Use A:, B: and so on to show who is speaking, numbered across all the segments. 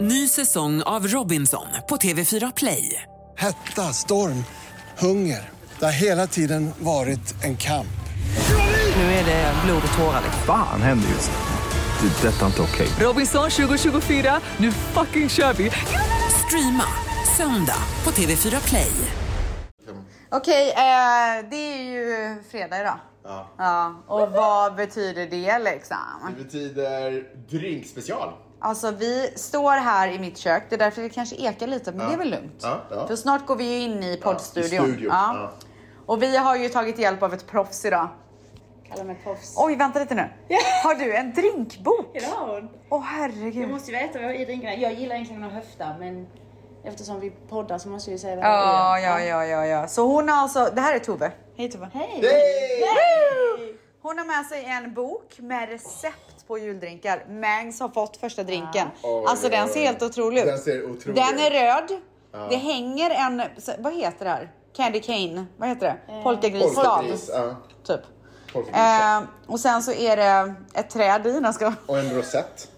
A: Ny säsong av Robinson på TV4 Play.
B: Hetta, storm, hunger. Det har hela tiden varit en kamp.
A: Nu är det blod och tårar.
C: liksom.
D: Fan händer just nu. Det. är Detta är inte okej.
A: Robinson 2024, nu fucking kör vi! Streama söndag på TV4 Play.
E: Okej, eh, det är ju fredag idag.
F: Ja.
E: och vad betyder det liksom?
F: Det betyder drinkspecial.
E: Alltså vi står här i mitt kök, det är därför det kanske ekar lite, men det är väl lugnt?
F: Ja, ja.
E: För snart går vi ju in i poddstudion.
F: i studion, ja.
E: Och vi har ju tagit hjälp av ett proffs idag.
G: Kalla mig proffs.
E: Oj, vänta lite nu. Har du en drinkbok?
G: Det har hon.
E: Åh
G: Du
E: herregud.
G: måste ju veta vad idringarna Jag gillar egentligen att höfta men eftersom vi poddar så måste vi säga vad det
E: Ja,
G: är.
E: ja, ja, ja, ja. Så hon har alltså, det här är Tove. Hej Tove.
G: Hej!
E: Hon har med sig en bok med recept på juldrinkar. Mangs har fått första drinken.
F: Ah. Oj,
E: alltså den ser
F: oj.
E: helt otrolig ut.
F: Den ser otrolig
E: Den är
F: ut. Ah.
E: röd. Det hänger en, vad heter det här? Candy cane, vad heter
G: Eh.
E: det? Polkagrisstav.
F: Polkagris, ja.
E: Typ.
F: Polkagris.
E: Eh, och sen så är det ett träd i, när ska
F: Och en rosett.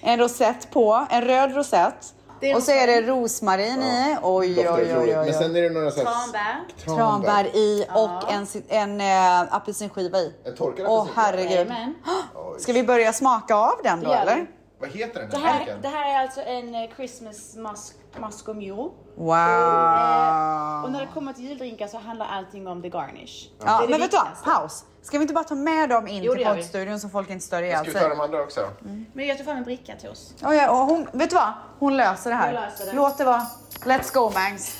E: en rosett på, en röd rosett.
G: Det är
E: och så är det rosmarin i. Oj, oj,
F: Doftar
E: oj,
F: otroligt.
E: oj, oj.
F: Men sen är det några så här...
G: Tranbär.
E: Tranbär i och en, ci- en eh, apelsinskiva i.
F: En torkad
E: Åh
F: apelsin.
E: herregud.
G: Jajamän.
F: Oj.
E: Ska vi börja smaka av den då
G: Ja.
E: eller?
F: Vad heter den
G: Det
F: här
G: här, det
F: drinken?
G: här är alltså en eh, Christmas mask, mask och mjol.
E: Wow!
G: Och när det kommer till juldrinkar så handlar allting om the garnish.
E: Ja, men vet
G: det
E: du vad?
G: viktigaste.
E: Paus! Ska vi inte bara ta med dem in
G: Jo, det
E: till
G: gör vi.
E: poddstudion så folk inte stör ihjäl
F: Ska vi ta
E: sig?
F: de andra också?
G: Men jag tog fram en bricka till oss.
E: Oh, ja, och hon, vet du vad? Hon löser det här.
G: Hon löser det.
E: Låt det vara. Let's go Mangs!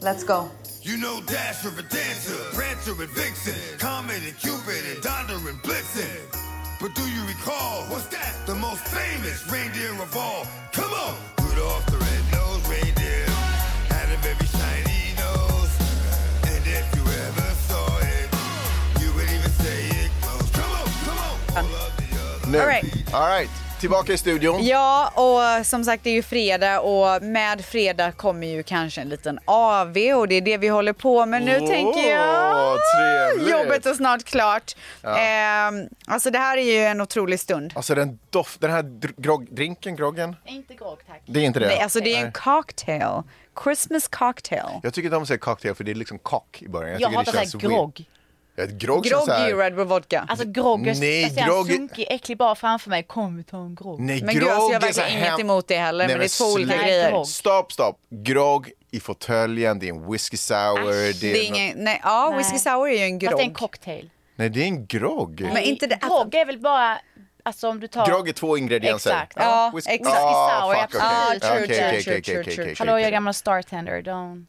E: Let's go.
H: You know Dasher and Dancer, Prancer and Vixen, Comet and Cupid and Donder and Blitzen. But do you recall what's that? The most famous reindeer of all. Come on! Rudolph the red-nosed reindeer had a very shiny nose. And if you ever saw it, you would even say it glows. Come on, come on! All of the other
F: Nu.
E: All right.
F: All right. Tillbaka i studion.
E: Ja, och som sagt det är ju fredag och med fredag kommer ju kanske en liten AV och det är det vi håller på med nu
F: Åh,
E: tänker jag.
F: trevligt.
E: Jobbet är snart klart. Ehm, alltså det här är ju en otrolig stund.
F: Alltså den doft... Den här dr- grogg- drinken, groggen.
G: Inte grogg tack.
F: Det är inte det.
E: Nej, alltså det är en cocktail. Christmas cocktail.
F: Jag tycker inte om att säga cocktail för det är liksom kock i början.
G: Jag
F: tycker
G: hatar
F: det känns
G: såhär
F: weird.
G: grogg.
F: Ja, ett grogg känns
E: Grogg
F: så
E: är
F: här-
E: ju Red Bull Vodka.
G: Alltså grogg, jag,
F: Nej,
G: jag ser
F: grogg- Mm,
G: en sunkig, äcklig bar framför mig. Kom vi tar en grogg.
F: Nej,
E: Men
F: grogg
E: gud, alltså, jag har
F: är så
E: verkligen
F: här
E: inget
F: hem-
E: emot det heller, men det är två olika
F: sluta.
E: grejer.
G: grogg.
F: Stopp, stopp. Grogg i fåtöljen, det är en whisky sour.
E: Det är
F: något-
E: ingen, nej, ja, whisky sour är ju en
G: Fast det är en
E: grogg.
G: cocktail.
F: Nej, det är en grogg.
E: Men inte det- alltså,
G: Grogg är väl bara, alltså om du tar...
F: Grogg är två ingredienser.
G: Exakt.
E: Ja,
F: whisky-
E: exakt.
F: Ah,
G: Whisky sour,
F: fuck,
G: ja,
F: okej.
G: true,
F: Okej,
E: true,
F: okej,
E: true,
F: okej,
E: true,
F: okej,
E: true.
F: okej,
G: Hallå, jag är
F: okej.
G: gammal startender. Don't.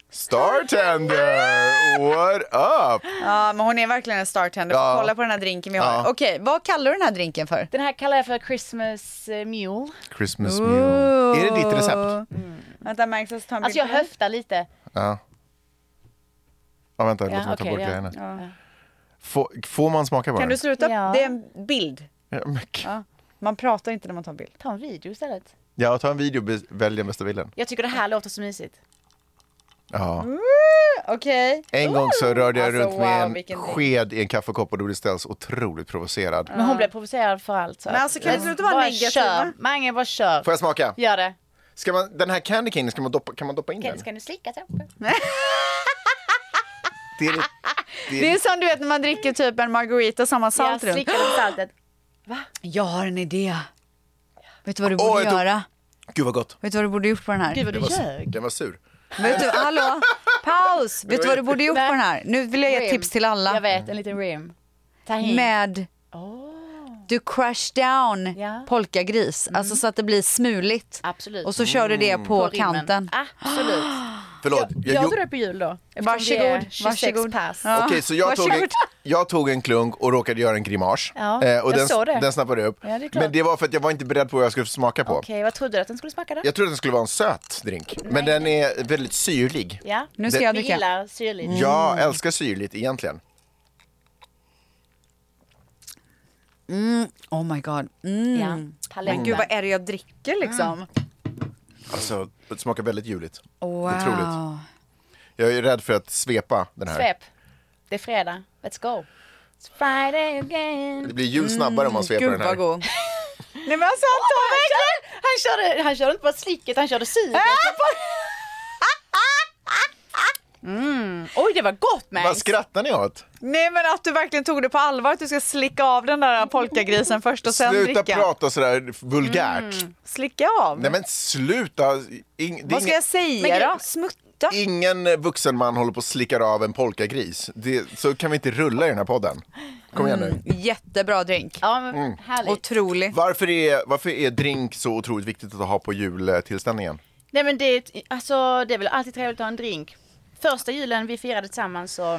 F: Startender! What up?
E: Ja, men hon är verkligen en startender. Får
F: Ja.
E: Kolla på den här drinken vi har.
F: Ja.
E: Okej, vad kallar du den här drinken för?
G: Den här kallar jag för Christmas eh, mule.
F: Christmas mule. Är det ditt recept?
E: Vänta, Max, jag ska ta en
G: Alltså jag
E: bild på den.
G: höftar lite.
F: Ja. Ja, vänta, låt mig ta
G: okej,
F: bort
G: ja.
F: grejerna. Får, får man smaka på
E: Kan
F: den?
E: du sluta?
G: Ja.
E: Det är en bild.
F: Ja, men gud.
E: Man pratar inte när man tar en bild.
G: Ta en video istället.
F: Ja, ta en video be- välj den bästa bilden.
G: Jag tycker det här låter så mysigt.
F: Ja.
E: Okej.
F: En gång så rörde jag
E: Alltså,
F: runt med
E: wow,
F: en
E: vilken drink.
F: sked i en kaffekopp och då blev Stels otroligt provocerad.
G: Men hon blev provocerad för allt. Så.
E: Men alltså, kan du sluta vara
G: bara
E: negativ, va?
G: Kör. Mange, bara kör.
F: Får jag smaka?
G: Gör det.
F: Ska man, den här candy cane, ska man doppa, kan man doppa in den?
G: Ska du slicka sen?
F: Det är, det
E: Det
F: är,
E: är som du vet när man dricker typ en margarita som har
G: Jag
E: salt runt.
G: slickar lite saltet.
E: Jag har en idé. Vet du vad du
F: Åh,
E: borde
F: jag tog-
E: göra?
F: gud vad gott.
E: Vet du vad du borde gjort på den här?
G: Gud vad du
F: Den var,
G: ljög.
F: den var sur.
E: Vet du, hallå? Paus! Vet du vad du borde gjort på den här? Nu vill jag ge ett
G: Rim.
E: tips till alla.
G: Jag vet, en liten rim. Tahin.
E: med du crush down
G: Oh. Ja. Mm.
E: polkagris, alltså så att det blir smuligt.
G: Absolut.
E: Och så kör du
F: Mm.
E: det på,
G: rimmen.
E: kanten.
G: Absolut.
F: Förlåt.
G: Jag gjorde det på jul då. eftersom vi är
E: Varsågod,
G: 26
E: varsågod.
G: Pass.
E: Ja.
F: Okej, så jag tog, en,
E: Varsågod.
F: jag tog en klunk och råkade göra en grimas. Eh,
G: Ja,
F: och
G: jag
F: den,
G: såg det.
F: den snappade jag upp.
G: Ja, det är klart.
F: Men det var för att jag var inte beredd på vad jag skulle smaka på.
G: Okej, vad trodde du att den skulle smaka då?
F: Jag trodde att den skulle vara en söt drink, men den är väldigt syrlig.
G: Ja.
E: Nu ska
F: Det-
E: jag
G: Vi
E: dricka.
G: gillar syrligt.
F: Jag älskar syrligt egentligen.
E: Oh my god. Mm.
G: Ja. Mm. Palängen.
E: Gud vad är det jag dricker liksom?
F: Alltså, det smakar väldigt juligt.
E: Wow.
F: Otroligt. Jag är rädd för att svepa den här.
G: Svep. Det är fredag. Let's go. It's Friday again.
F: Det blir jul snabbare om man svepar
E: Mm, Gud
F: den
E: vad
F: här.
E: god. Nej men
G: Oh
E: alltså han tar verkligen...
G: Han körde, han körde inte bara slicket, han körde syret. Oj, det var gott
F: Vad
G: Max.
F: skrattar ni åt?
E: Nej men att du verkligen tog det på allvar att du ska slicka av den där polkagrisen först och sen
F: Sluta
E: dricka.
F: prata sådär vulgärt.
E: Slicka av?
F: Nej men sluta! Ing, det är
E: Vad ska
F: ingen,
E: jag säga
G: Men gud,
E: då? Smutta?
F: ingen vuxen man håller på och slickar av en polkagris. Det, så kan vi inte rulla i den här podden. Kom igen nu.
E: Jättebra drink.
G: Ja, men
F: Mm.
G: härligt.
E: Otrolig.
F: Varför är, varför är drink så otroligt viktigt att ha på jultillställningen?
G: Nej men det, är ett- alltså, det är väl alltid trevligt att ha en drink. Första julen vi firade tillsammans så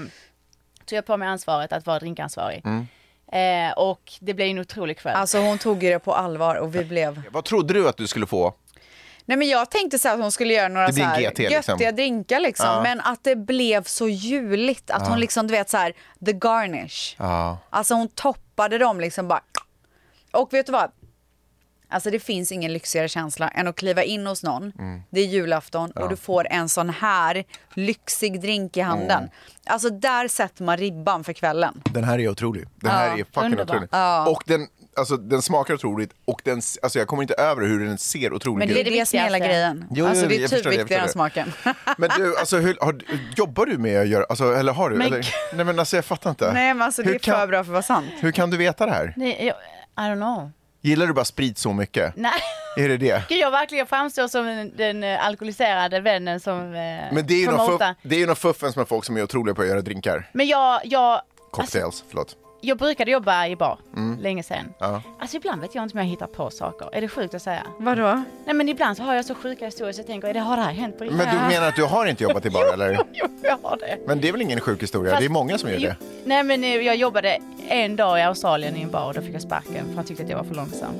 G: tog jag på mig ansvaret att vara drinkansvarig.
F: Mm.
G: Eh, och det blev en otrolig kväll.
E: Alltså hon tog ju det på allvar och vi blev...
F: Vad trodde du att du skulle få?
E: Nej men jag tänkte så här att hon skulle göra några
F: Det
E: så
F: blir en
E: här
F: GT,
E: göttiga
F: liksom.
E: drinkar liksom. Men att det blev så juligt. Att hon liksom du vet så här, the garnish.
F: Ja.
E: Alltså hon toppade dem liksom bara. Och vet du vad? Alltså det finns ingen lyxigare känsla än att kliva in hos någon.
F: Mm.
E: Det är julafton och du får en sån här lyxig drink i handen. Alltså där sätter man ribban för kvällen.
F: Den här är otrolig. Den här är fucking
G: underbar.
F: otrolig. Och den, alltså, den smakar otroligt och den, s- alltså, jag kommer inte över hur den ser otrolig
E: Men det är
F: ut.
E: det,
G: det
E: som är hela
G: viktigaste.
E: grejen.
F: Jo, jo,
E: alltså det
F: jag
E: är
F: förstår
E: typ
F: det, jag
E: viktigare än
F: förstår
E: smaken.
F: Men du, alltså, hur, har, jobbar du med att göra, alltså, eller har du?
G: Men
F: eller, nej men alltså jag fattar inte.
E: Nej men alltså det
F: Hur
E: är
F: kan-
E: för bra för att vara sant.
F: Hur kan du veta det här?
G: Nej, jag, I don't know.
F: Gillar du bara sprit så mycket?
G: Nej.
F: Är det det?
G: Gud, jag verkligen framstår som den, den eh, alkoholiserade vännen som eh,
F: Men det är ju något
G: promotar.
F: fuff- det är ju något fuffens med folk som är otroliga på att göra drinkar.
G: Men jag, jag, alltså,
F: Cocktails, förlåt.
G: jag brukade jobba i bar
F: Mm.
G: länge sedan. Alltså ibland vet jag inte om jag hittar på saker. Är det sjukt att säga?
E: Vadå?
G: Nej men ibland så har jag så sjuka historier så jag tänker, är det, har det här hänt på riktigt?
F: Men du menar att du har inte jobbat i bar eller?
G: Jo, jo, jag har det.
F: Men det är väl ingen sjuk historia? Det är
G: Fast-
F: många som gör
G: Jo,
F: det.
G: Nej men eh, jag jobbade en dag i Australien i en bar och då fick jag sparken för han tyckte att jag var för långsam.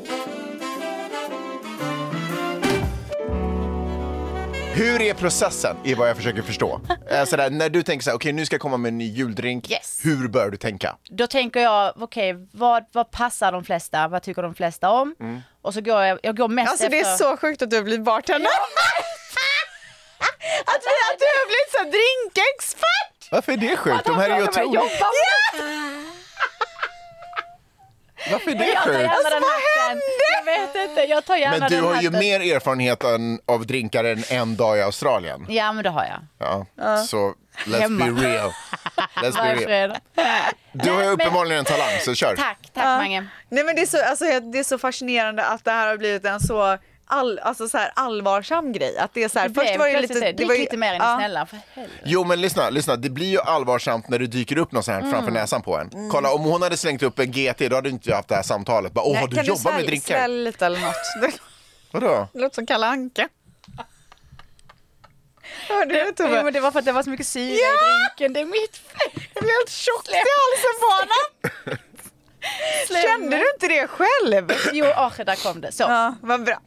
F: Hur är processen? Är vad jag försöker förstå. Eh, Sådär, när du tänker så här, okej nu ska jag komma med en ny juldrink.
G: Yes.
F: Hur bör du tänka?
G: Då tänker jag, okej vad, vad passar de flesta? Vad tycker de flesta om?
F: Mm.
G: Och så går jag, jag går mest
E: Alltså
G: efter...
E: det är så sjukt att du har blivit bartender. att, vi, att du har blivit så här drinkexpert!
F: Varför är det sjukt? De här är ju
G: Jag
F: otroliga.
G: jobbar
F: Varför är
G: med-
F: det
G: Jag tar gärna
F: sjukt?
G: den hatten. Jag vet inte, jag tar gärna
F: Men du
G: den
F: har ju
G: hatten.
F: mer erfarenhet än, av drinkar än en dag i Australien.
G: Ja men det har jag.
F: Ja. Så let's
G: Hemma.
F: be real. Let's be
G: Varför
F: real.
G: är det?
F: Du har ju
G: Men-
F: uppenbarligen en talang, så kör.
G: Tack, tack Mange.
E: Nej men det är, så, alltså, jag- det är så fascinerande att det här har blivit en så, all, alltså, så här allvarsam grej. Att det är så här,
G: Först var det lite... Det, det
E: var
G: gick
E: ju-
G: lite mer än
E: ja.
G: snälla, för helvete.
F: Jo men lyssna, lyssna, det blir ju allvarsamt när det dyker upp något sånt
G: Mm.
F: här framför näsan på en. Kolla om hon hade slängt upp en GT då hade inte jag haft det här samtalet. Bara, Åh,
E: Nej,
F: har du
E: kan
F: jobbat med
E: svälj-
F: drinkar?
E: Svälj lite eller något.
F: Vadå?
E: Det låter som Kalle Anka. Hörde du det Tove?
G: Jo men det var för att det var så mycket syre i drinken, det är mitt fel.
E: Jag blev helt tjock i halsen på honom. Kände du inte det själv?
G: Jo, oh, där kom det. Så.
E: Ja, vad bra.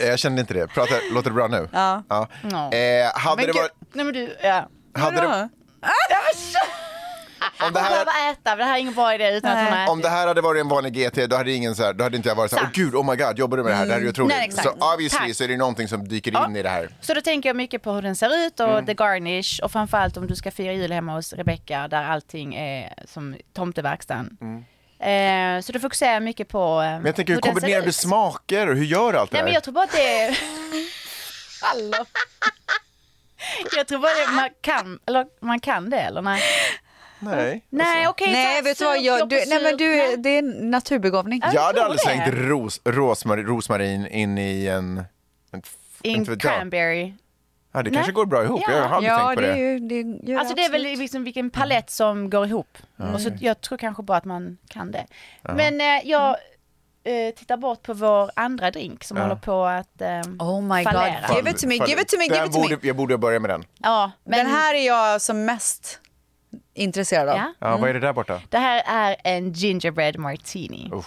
F: Eh, Jag kände inte det. Prata, låter det bra nu? Ja.
G: Ja.
F: Eh, hade
G: Men
F: det
G: gud, Ah,
F: varit...
G: nej men du, ja.
F: Hade det, om, det
G: Hon
F: här,
G: behöver äta, det här är ingen bra idé utan att hon har
F: om det här hade varit en vanlig GT då hade, ingen så här, då hade inte jag varit så här, åh
G: Sant. Mm.
F: gud, oh my god, jobbar du med det här? Det här är ju otroligt.
G: Nej, exakt.
F: så obviously
G: Tack.
F: så är det någonting som dyker in i det här.
G: Så då tänker jag mycket på hur den ser ut och
F: Mm.
G: the garnish och framförallt om du ska fira jul hemma hos Rebecca där allting är som tomteverkstan. Eh, så då fokuserar jag mycket på eh,
F: Mm. Men jag tänker, hur
G: den ser
F: kombinerar du
G: ut.
F: smaker och hur gör du allt det
G: Nej
F: här?
G: men jag tror bara att det är... Hallå. jag tror bara att man kan, eller man kan det eller nej?
F: Nej.
G: Nej okej.
E: Nej,
G: tack,
E: vet du vad?
G: surt,
E: Jag,
G: jobb och
E: du, nej, men
G: surt.
E: du, det är en naturbegåvning.
G: Ja,
F: Jag
G: jag
F: hade
G: tror
F: aldrig
G: det.
F: slängt ros, rosmarin, rosmarin in i en... en
G: In
F: inte vet jag.
G: cranberry.
F: Ja, det kanske
G: Nej.
F: går bra ihop.
G: Ja.
F: Jag har aldrig
E: Ja,
F: tänkt på
E: det,
F: det.
E: är ju, det gör
G: Alltså det är väl liksom vilken palett som går ihop. Och så, jag tror kanske bara att man kan det. Men eh, jag
E: Mm.
G: eh, tittar bort på vår andra drink som håller på att eh,
E: Oh my
G: fallera.
E: God. Give it to me, give it to me, give
F: Den
E: it to me.
F: Borde, jag borde börja med den.
G: Ja, men
E: Den här är jag som mest intresserad av.
G: ja,
F: Ja, Vad är det där borta?
G: det här är en gingerbread martini.
F: Den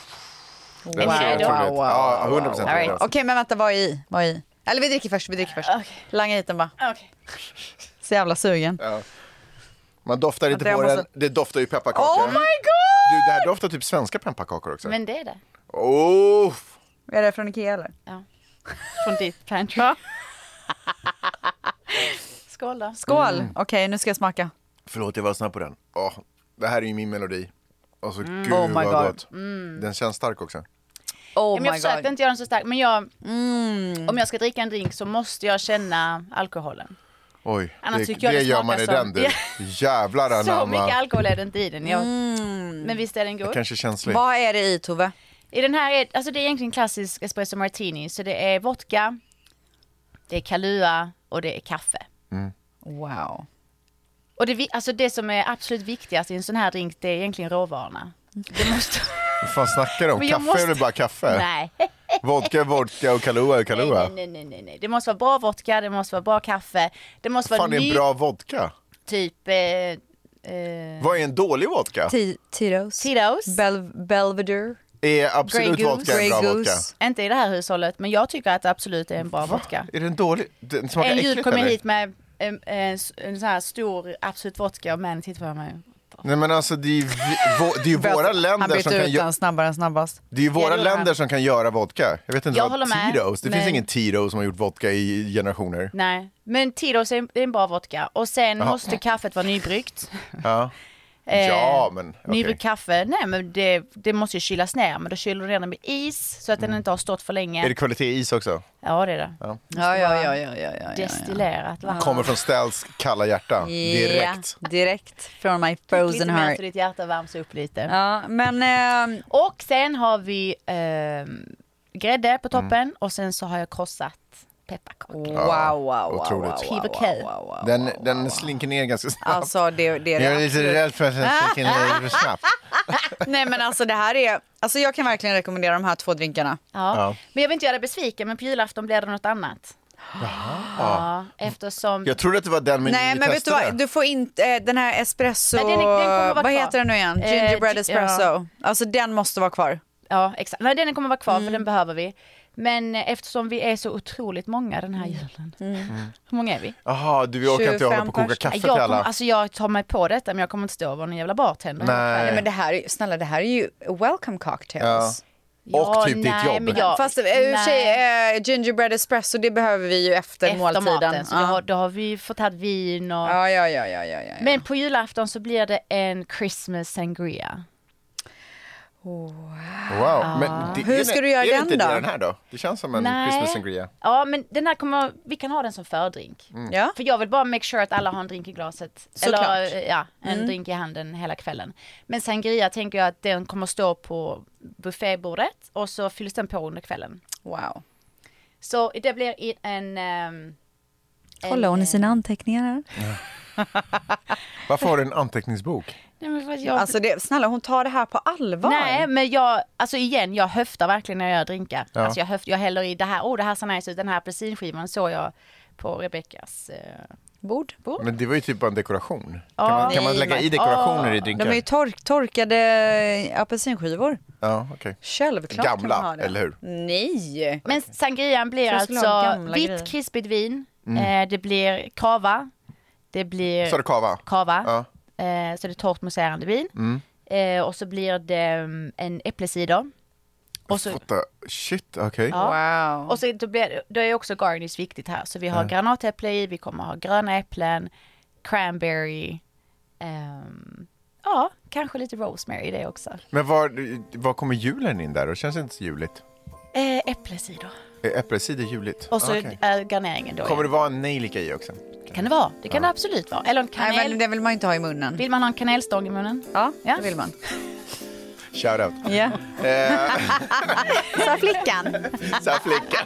F: ser
G: Wow,
F: otroligt.
E: wow,
F: Ja, 100 procent.
G: wow. All right.
E: Okej, men vänta, vad är i? Vad är i? Eller vi dricker först, vi dricker först.
G: Okej.
E: Langa hit den bara.
G: Okej.
E: Så jävla sugen.
F: Man doftar inte
E: Vänta, jag
F: på den.
E: måste-
F: Det doftar ju pepparkakor.
E: Oh my god!
F: Du, det här doftar typ svenska pepparkakor också.
G: Men det är det.
F: Oh,
E: Är det från Ikea eller?
G: Från ditt pantry. Skål då.
E: Skål!
F: Mm.
E: Okej, nu ska jag smaka.
F: förlåt, jag var snabb på den. Åh, det här är ju min melodi. Alltså, gud
E: Oh my
F: vad
E: God.
F: gott. Den känns stark också.
E: Oh
G: Ja, men
E: my
G: jag försökte
E: god. Mm.
G: inte göra den så stark, men jag, om jag ska dricka en drink så måste jag känna alkoholen.
F: Oj,
G: Annars
F: det,
G: tycker jag
F: det
G: det
F: gör man i
G: smakar
F: den
G: som-
F: du. Jävlar
G: Så mycket
F: anamma.
G: alkohol är det inte i den. Jag, Men visst är den god?
F: Kanske känslig.
E: Vad är det i Tove?
G: I den här är, alltså det är egentligen klassisk espresso martini, så det är vodka, det är Kahlua och det är kaffe.
E: Wow.
G: Och det, vi- alltså det som är absolut viktigast i en sån här drink, det är egentligen råvarorna. Det måste...
F: Vad fan snackar du om?
G: Men
F: Kaffe
G: jag
F: är väl bara kaffe?
G: Nej.
F: Vodka är vodka och Kahlua är
G: Nej,
F: Kahlua.
G: nej, nej, nej, nej, nej. Det måste vara bra vodka, det måste vara bra kaffe, det måste vara
F: fan är
G: ny
F: en bra vodka?
G: typ... Eh, eh, Typ
F: Vad är en dålig vodka?
E: Ti- Tito's.
G: Tito's.
E: Bel- Belvedere.
F: Är absolut
G: Grey Goose.
F: vodka en
E: Grey
F: bra vodka?
E: Goose.
G: inte i det här hushållet, men jag tycker att det absolut är en bra vodka.
F: Är den dålig? Den smakar
G: En jul
F: äckligt
G: kom jag
F: eller?
G: hit med en, en, en sån här stor absolut vodka och männen tittade på mig.
F: Nej men alltså det är ju, vi, vå, det är ju våra
E: Han
F: länder som
E: bytte
F: kan
E: ut
F: göra
E: den snabbare än snabbast.
F: det är ju
G: Ja,
F: våra
G: det gjorde
F: länder
G: han.
F: som kan göra vodka. Jag vet inte
G: Jag
F: vad
G: håller med,
F: Tito's, det finns
G: men-
F: ingen Tito's som har gjort vodka i generationer.
G: Nej, men Tidos är en, det är en bra vodka. Och sen
F: Jaha.
G: måste kaffet vara nybryggt.
F: Ja,
G: Eh,
F: ja men okej.
G: Nybryggt kaffe, nej men det, det måste ju kylas ner, men då kyler du ner den med is så att den inte har stått för länge.
F: Mm. Är det kvalitet i is också?
G: Ja det är det.
E: Ja, ja, ja, ja, ja, ja, ja.
G: Destillerat va?
F: Kommer från Ställs kalla hjärta, direkt.
E: Ja, direkt från my
G: Lite
E: frozen
G: mer
E: heart.
G: så ditt hjärta värms upp lite.
E: Ja, men eh,
G: Och sen har vi eh, grädde på
F: Mm.
G: toppen och sen så har jag krossat pepparkakor.
E: wow, wow, wow,
F: otroligt.
E: wow, wow,
G: PVK.
E: wow, wow.
F: Den, den slinker ner ganska snabbt.
E: Alltså det, det är
F: jag
E: det
F: är lite
E: absolut.
F: rädd för att den slinker ner för snabbt.
E: Nej men alltså det här är, alltså jag kan verkligen rekommendera de här två drinkarna.
G: Ja.
F: Ja.
G: Men jag vill inte göra dig besviken, men på julafton blir det något annat. Ja, eftersom...
F: Jag trodde att det var den menyn
E: Nej
F: vi
E: men vet du
F: testade.
E: vad, du får inte, eh, den här espresso,
G: Nej, den är- den kommer vara
E: vad
G: kvar.
E: heter den nu igen?
G: Eh,
E: Gingerbread
G: gi-
E: espresso. Alltså den måste vara kvar.
F: Eh.
G: Ja, exakt. Nej, den kommer vara kvar
E: Mm.
G: för den behöver vi. Men eh, eftersom vi är så otroligt många den
E: Mm.
G: här julen. Hur många är vi?
F: Jaha, du vi orkar inte hålla på och
E: 25
F: koka kaffe
G: jag,
F: till alla.
G: kommer, alltså, jag tar mig på detta men jag kommer inte stå och vara någon jävla bartender.
F: Nej.
E: Nej men det här, är- snälla det här är ju welcome cocktails.
F: Och typ ditt
G: nej,
F: jobb.
G: Men jag,
E: Fast eh, i och för sig, eh, gingerbread espresso det behöver vi ju efter,
G: efter
E: måltiden.
G: maten. Så
E: ja.
G: då, har, då har vi fått ha vin och...
E: ja, ja, ja, ja, ja, ja.
G: Men på julafton så blir det en Christmas sangria.
F: Wow. Men det,
E: Ah. Hur ska du göra
F: är det
E: den
F: inte
E: då?
F: Det, den här då? Det känns som en
G: Nej.
F: Christmas sangria. Mm.
G: Ja men den här kommer, vi kan ha den som fördrink.
E: Ja.
G: För jag vill bara make sure att alla har en drink i glaset.
E: Såklart. Mm.
G: Eller eh, ja, en drink i handen hela kvällen. Men sangria tänker jag att den kommer stå på buffébordet och så fylls den på under kvällen.
E: Wow.
G: Så det blir i- en... ehm, en eh,
E: sina anteckningar här.
F: Varför har du en anteckningsbok?
G: Nej men, för att jag,
E: Alltså det, snälla hon tar det här på allvar.
G: nej men jag, alltså igen jag höftar verkligen när jag gör drinkar.
F: Ja.
G: Alltså jag, höft, jag häller i det här, oh det här ser nice ut, den här apelsinskivan såg jag på Rebeckas eh,
E: Bord.
G: bord.
F: Men det var ju typ bara en dekoration.
G: Ja.
F: Kan, man, kan man
E: Nej,
F: lägga i
E: men-
F: dekorationer i
E: De
F: drinkar?
E: är ju tork, torkade eh, apelsinskivor.
F: Ja, okej.
E: Självklart kan
F: Gamla,
E: man ha det.
F: eller hur?
E: Nej.
G: Men sangrian blir
E: Så jag skulle ha
G: alltså
E: gamla grejer.
G: vitt krispigt vin, eh, det blir cava, det blir
F: Sa du kava?
G: cava,
F: Ja. Mm.
G: eh, så det är torrt mousserande vin. Eh, och så blir det mm, en äpplecider. Och så,
F: What the- Shit, okej.
G: Ja.
E: Wow.
G: och så då, blir, då är också garnish viktigt här. Så vi har granatäpple i, vi kommer ha gröna äpplen, cranberry, ehm, ja, kanske lite rosemary i det också.
F: Men var, var kommer julen in där? Det känns inte så juligt.
G: Eh, äppelcider.
F: Är äppelcider juligt?
G: Och så
F: Ah,
G: är
F: okej.
G: garneringen då.
F: Kommer det
G: igen.
F: vara en nejlika i också?
G: Kan det vara? Det kan det absolut vara. Eller en kanel.
E: Nej men det vill man ju inte ha i munnen.
G: Vill man ha en kanelstång i munnen?
E: Ja,
G: Ja.
E: det vill man.
F: Shoutout.
E: Ja.
F: Eh,
E: Sa flickan.
F: så här flickan.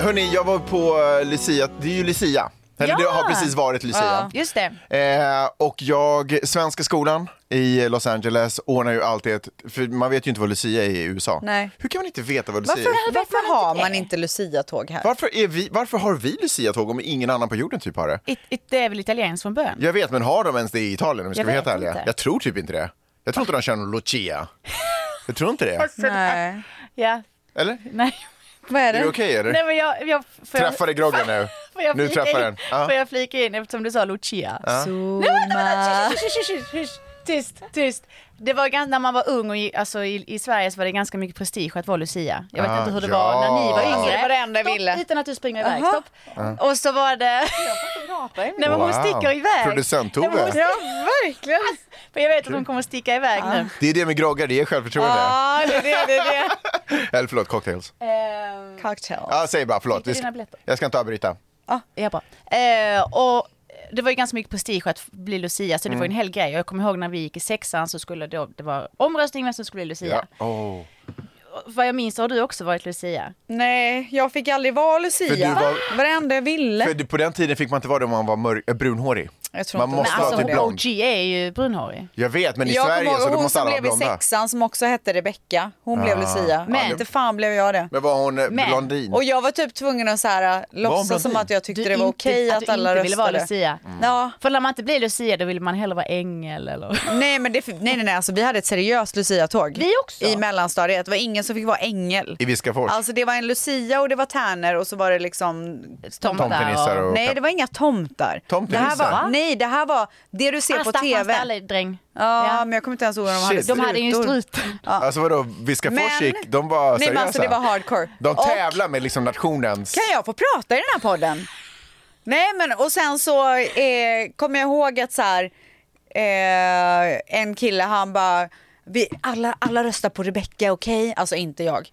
F: Hörni, jag var på eh, Lucia. Det är ju Lucia. Eller
G: Ja!
F: det har precis varit Lucia.
G: Ja, just det.
F: Eh, och jag, Svenska skolan i Los Angeles ordnar ju alltid ett, för man vet ju inte vad Lucia är i USA.
E: Nej.
F: Hur kan man inte veta vad Lucia
E: Varför,
F: är?
E: varför har man inte Lucia-tåg här?
F: Varför, är vi, varför har vi Lucia-tåg om ingen annan på jorden typ har det?
G: It, it, det är väl italienskt från början?
F: Jag vet, men har de ens det i Italien om vi ska
G: Jag
F: vara
G: vet
F: helt ärliga?
G: inte.
F: Jag tror typ inte det. Jag tror inte de kör någon Lucia. Jag tror inte det.
E: Nej.
G: Ja.
F: Eller?
G: Nej.
E: Vad
F: Är det okej eller?
G: Nej, men jag, jag, får jag-
F: Träffade groggen nu.
G: Får jag
F: Nu
G: flika
F: träffar
G: in?
F: den. Ja.
G: Får jag flika in eftersom du sa Lucia?
F: Ja.
E: Nej,
G: vänta, vänta, tsch, tsch, tsch, tsch, tsch, Tyst, tyst. Det var ganska, när man var ung och i, alltså i, i Sverige så var det ganska mycket prestige att vara Lucia. Jag vet
F: Ah,
G: inte hur det
F: ja.
G: var när ni var
F: Alltså,
G: yngre.
F: det
E: var det enda jag
G: Stopp,
E: ville.
G: Utan att du springer iväg,
E: Aha.
G: stopp.
F: Ja.
G: Och så var det... Nej men hon
F: Wow.
G: sticker iväg.
F: Producent-Tove.
G: Nej, men hon-
F: Ja,
E: verkligen.
G: För jag vet att hon kommer sticka iväg nu.
F: Det är det med groggar, det ger självförtroende.
G: Ja, det är det. det, är det.
F: Eller förlåt, cocktails.
G: Ehm,
E: Cocktail.
F: Ja, säg bara förlåt.
G: Dricker
F: Vi ska-
G: dina biljetter.
F: Jag ska inte avbryta.
G: Ja, ja bra. Eh, och det var ju ganska mycket prestige att bli Lucia, så det
F: Mm.
G: var ju en hel grej. Och jag kommer ihåg när vi gick i sexan så skulle då, det var omröstning vem som skulle bli Lucia.
F: Oh.
G: Och Vad jag minns så har du också varit Lucia.
E: Nej, jag fick aldrig vara
F: För du
E: Lucia.
F: var-
E: Varenda jag ville.
F: För det- på den tiden fick man inte vara det om man var mörk, äh, brunhårig.
E: Jag tror
F: Man
E: inte
F: måste
E: det.
F: vara
E: Men
F: typ
E: alltså,
F: blond.
G: OG är ju brunhårig.
F: Jag vet, men i
E: jag
F: Sverige
E: kommer
F: så
E: ihåg
F: då
E: hon
F: måste
E: som
F: alla vara
E: blev i
F: blonda.
E: sexan som också hette Rebecka. Hon
F: Ah.
E: blev Lucia.
F: Men-
E: Men inte fan blev jag det.
F: Men var hon eh,
E: Men-
F: blondin?
E: Och jag var typ tvungen att så här,
F: blondin?
E: låtsas som att jag tyckte
G: Du
E: det var
G: inte-
E: okej
G: att
E: att,
G: du
E: alla
G: inte
E: röstade.
G: ville vara Lucia.
F: Mm.
E: Ja.
G: För när man inte blir Lucia då vill man hellre vara ängel eller...
E: Nej, men det, nej, nej, nej. Alltså, vi hade ett seriöst Lucia-tåg.
G: Vi också.
E: I mellanstadiet. Det var ingen som fick vara ängel.
F: I Viskafors?
E: Alltså det var en lucia och det var tärnor och så var det liksom
F: Tomtenissar och-
E: Nej det var inga tomtar. Det här
F: Tomtenissar?
E: var, nej det här var det du ser på
G: Asta,
E: tv.
G: Asta, alla Ah, dräng.
E: Ja, men jag kommer inte ens ihåg om de hade
F: Shit. De hade
G: ju strut.
F: Alltså vadå, Viskafors
E: Men-
F: gick, de var
E: Nej, men
F: seriösa.
E: alltså, det var hardcore.
F: De
E: Och-
F: tävlar med liksom nationens...
E: Kan jag få prata i den här podden? Nej men och sen så eh, kommer jag ihåg att så här, eh, en kille han bara, vi, alla, alla röstar på Rebecca, okej? Alltså inte jag.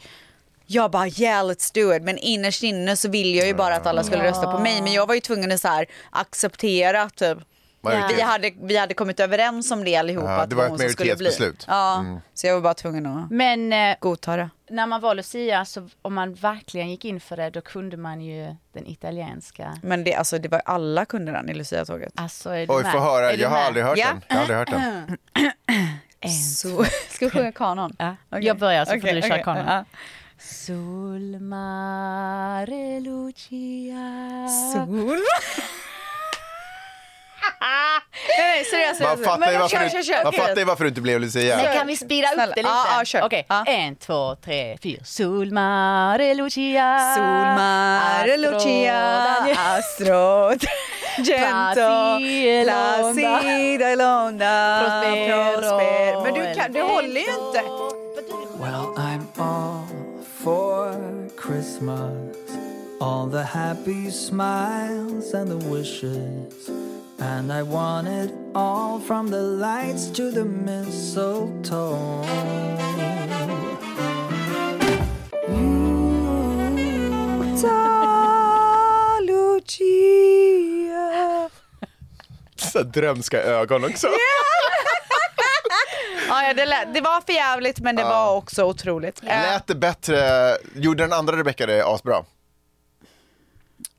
E: Jag bara yeah let's do it men innerst inne så ville jag ju bara att alla skulle rösta på mig men jag var ju tvungen att så här, acceptera typ.
F: Majoritet.
E: Vi hade, vi hade kommit överens om det allihopa.
F: Ja,
E: att
F: det var
E: hon
F: ett
E: som skulle bli.
F: majoritetsbeslut.
E: Ja,
F: Mm.
E: så jag var bara tvungen att
G: Men eh,
E: godta det.
G: när man var Lucia, så om man verkligen gick in för det, då kunde man ju den italienska.
E: Men det, alltså, det var alla kunde den i Lucia-tåget.
G: Alltså, är du
F: Oj,
G: med?
F: få höra.
G: Är du
F: Jag har
G: med?
F: aldrig hört
E: Ja.
F: den. Jag har aldrig hört den.
E: Så, ska vi sjunga kanon?
G: Ja.
E: Okej.
G: Jag börjar så får
E: Okej,
G: du köra
E: okej.
G: kanon.
E: Ja.
G: Sol mare Lucia
E: Sol... Nej, seriöst.
F: Man
E: seriöst.
F: fattar ju
E: Men
F: varför,
E: kör, kör,
F: du,
E: kör.
F: man
E: Okej.
F: fattar ju varför du inte blev Lucia.
G: Men kan vi spira upp
E: Snälla.
G: det lite?
E: Ja, ja, kör.
G: Okej,
E: Ja.
G: en, två, tre, fyra. Sol mare Lucia
E: Sol mare Lucia astro gento
G: Placida
E: placida e londa
G: Prospero
E: prosper. Men du, kan, du
G: el
E: håller ju inte.
C: Well, I'm all for Christmas. All the happy smiles and the wishes. And I want it all from the lights to the mistletoe.
E: Ta Lucia.
F: Så drömska ögon också.
E: Ja, ja, det, lät, det var för jävligt men det var också otroligt. Eh,
F: Lät det bättre? Gjorde den andra Rebecca det asbra?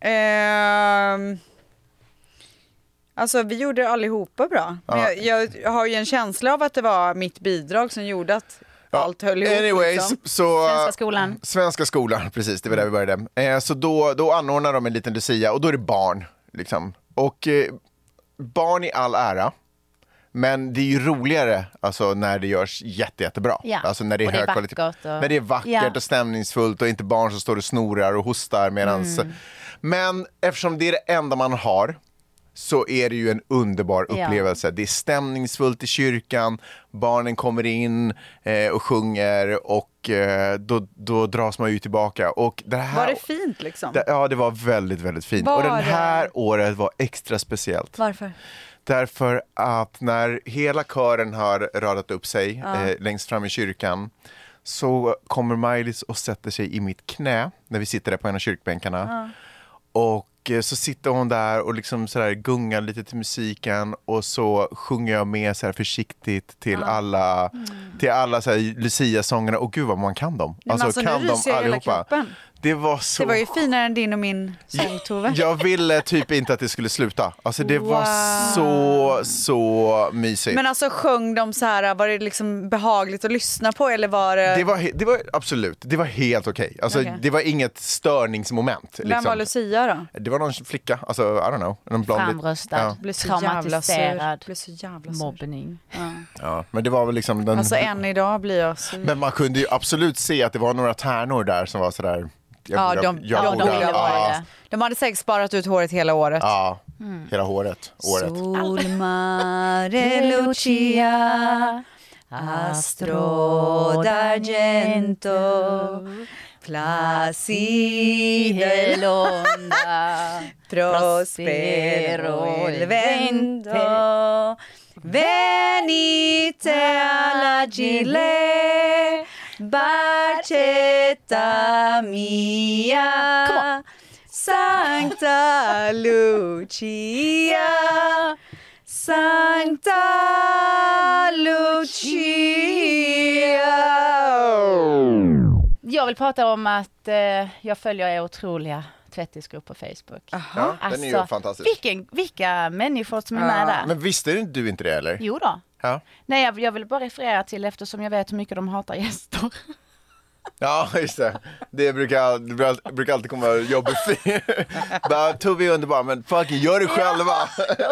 E: Ehm, alltså vi gjorde det allihopa bra. Men
F: Ja.
E: jag, jag har ju en känsla av att det var mitt bidrag som gjorde att allt höll ihop.
F: Anyways,
E: liksom.
F: så...
G: Svenska skolan.
F: Svenska skolan, precis. Det var där vi började. Eh, så då, då anordnar de en liten lucia och då är det barn. Liksom. Och eh, barn i all ära. Men det är ju roligare alltså, när det görs jätte, jättebra.
G: Ja.
F: Alltså när det är
G: Och det är
F: hög kvalitet.
G: vackert och-
F: När det är vackert
G: Ja.
F: och stämningsfullt och inte barn som står och snorar och hostar medans...
E: Mm.
F: Men eftersom det är det enda man har så är det ju en underbar
G: Ja.
F: upplevelse. Det är stämningsfullt i kyrkan, barnen kommer in eh, och sjunger och eh, då, då dras man ju tillbaka. Och det här,
E: Var det fint liksom?
F: Det- Ja, det var väldigt, väldigt fint.
E: Var
F: och det
E: det?
F: här året var extra speciellt.
E: Varför?
F: Därför att när hela kören har radat upp sig eh, längst fram i kyrkan så kommer Maj-Lis och sätter sig i mitt knä när vi sitter där på en av kyrkbänkarna. Och eh, så sitter hon där och liksom så där gungar lite till musiken och så sjunger jag med så här försiktigt till alla,
E: Mm.
F: till alla så här Lucia-sångerna. Och gud vad man kan dem.
E: alltså, men alltså, nu ryser jag i hela kroppen.
F: Det var så
E: Det var ju finare än din och min sång Tove.
F: Jag ville typ inte att det skulle sluta. Alltså det var så, så mysigt.
E: Men alltså sjöng de så här, var det liksom behagligt att lyssna på eller var det...
F: det, var, he- det var absolut, det var helt okej. Alltså,
E: äh, Okej.
F: Det var inget störningsmoment.
E: Vem
F: liksom.
E: var Lucia då?
F: Det var någon flicka, alltså I don't know. Någon blond lit-
G: Framröstad,
F: Ja.
E: Blev så jävla sur.
G: traumatiserad,
E: Blev så jävla sur.
G: mobbning.
E: Ja.
F: Ja, men det var väl liksom den...
E: Alltså än idag blir jag så...
F: Men man kunde ju absolut se att det var några tärnor där som var sådär... jag
E: Ja,
F: borde-
E: de,
F: jag
E: ja, de
F: borde-
E: ville vara
F: ja,
E: det. Mm. De hade säkert sparat ut håret hela året.
F: Ja, hela håret. året.
E: Solmare Lucia Astro d'argento Placide l'onda Prospero il vento Venite alla gile Barcetta mia Sancta Lucia Sancta Lucia
G: Jag vill prata om att eh, jag följer er otroliga tvättisgrupp på Facebook. Alltså,
F: Ja, den är
E: Alltså,
F: ju fantastisk.
G: Vilken, vilka människor som är med där.
F: Men visste du inte det eller?
G: Jo då.
F: Ja.
G: Nej, jag, jag vill bara referera till eftersom jag vet hur mycket de hatar gäster.
F: Ja, just det. Det brukar, det brukar- brukar alltid komma jobbigt. Bara, Tove är underbar, men fucking gör det själva.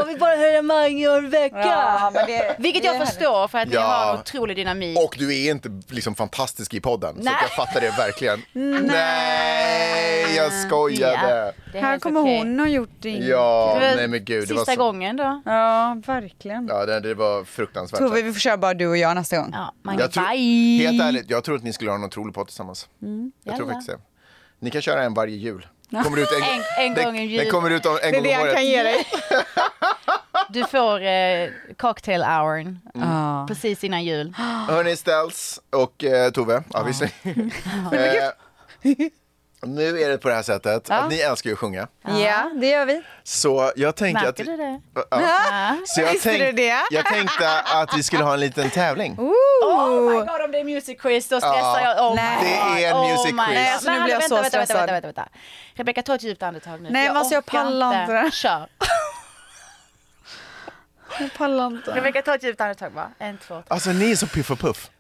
G: Och vi bara höra Mange en vecka.
E: Ja, men det-
G: Vilket
E: det är
G: jag förstår för att ni
F: Ja.
G: har en otrolig dynamik.
F: Och du är inte liksom fantastisk i podden, så
G: Nej.
F: att jag fattar det verkligen. Nej, jag skojade.
G: Det är
E: Här
G: helt
E: kommer
G: okej.
E: hon och gjort det.
F: Ja,
G: Det var
F: nej men gud. Det
G: Sista
F: var så,
G: gången då.
E: Ja, verkligen.
F: ja, det, det var fruktansvärt.
E: Tove, vi får köra bara du och jag nästa gång.
G: Ja,
F: Jag tror, helt ärligt, jag tror att ni skulle ha en otrolig podd tillsammans. Jag tror
E: Jalla.
F: faktiskt det. Ni kan köra en varje jul. Kommer ut en,
G: En- en
F: den-
G: gång i jul.
F: Den kommer ut om, en
E: Det är
F: gång
E: det
F: om
E: jag kan
F: året.
E: ge dig.
G: Du får eh, cocktail hourn
F: Mm.
G: precis innan jul.
F: Hörni, Ställs och eh, Tove, ja, vi ser. eh, nu är det på det här sättet
E: Ja.
F: att ni älskar ju att sjunga.
E: Ja, det gör vi.
F: Så jag tänkte att...
G: Märker du det?
F: Ja.
G: Ja.
F: Så jag,
E: Visste du
F: tänk,
E: det?
F: jag tänkte att vi skulle ha en liten tävling.
G: Oh my god, om det är music quiz då stressar
F: Ja.
G: jag. Oh
F: Nej.
G: my
F: Det är
G: god,
F: music
G: my god.
F: quiz.
E: Nej, alltså, nu
G: Men
E: blir jag
G: vänta,
E: så
G: vänta,
E: stressad.
G: Vänta, vänta, vänta, vänta. Rebecka, ta ett djupt andetag nu.
E: Nej, men alltså, jag
G: orkar
E: pallar inte.
G: Kör.
E: Jag pallar inte.
G: Rebecka, ta ett djupt andetag bara. En, två, tre.
F: Alltså ni är så piff och puff.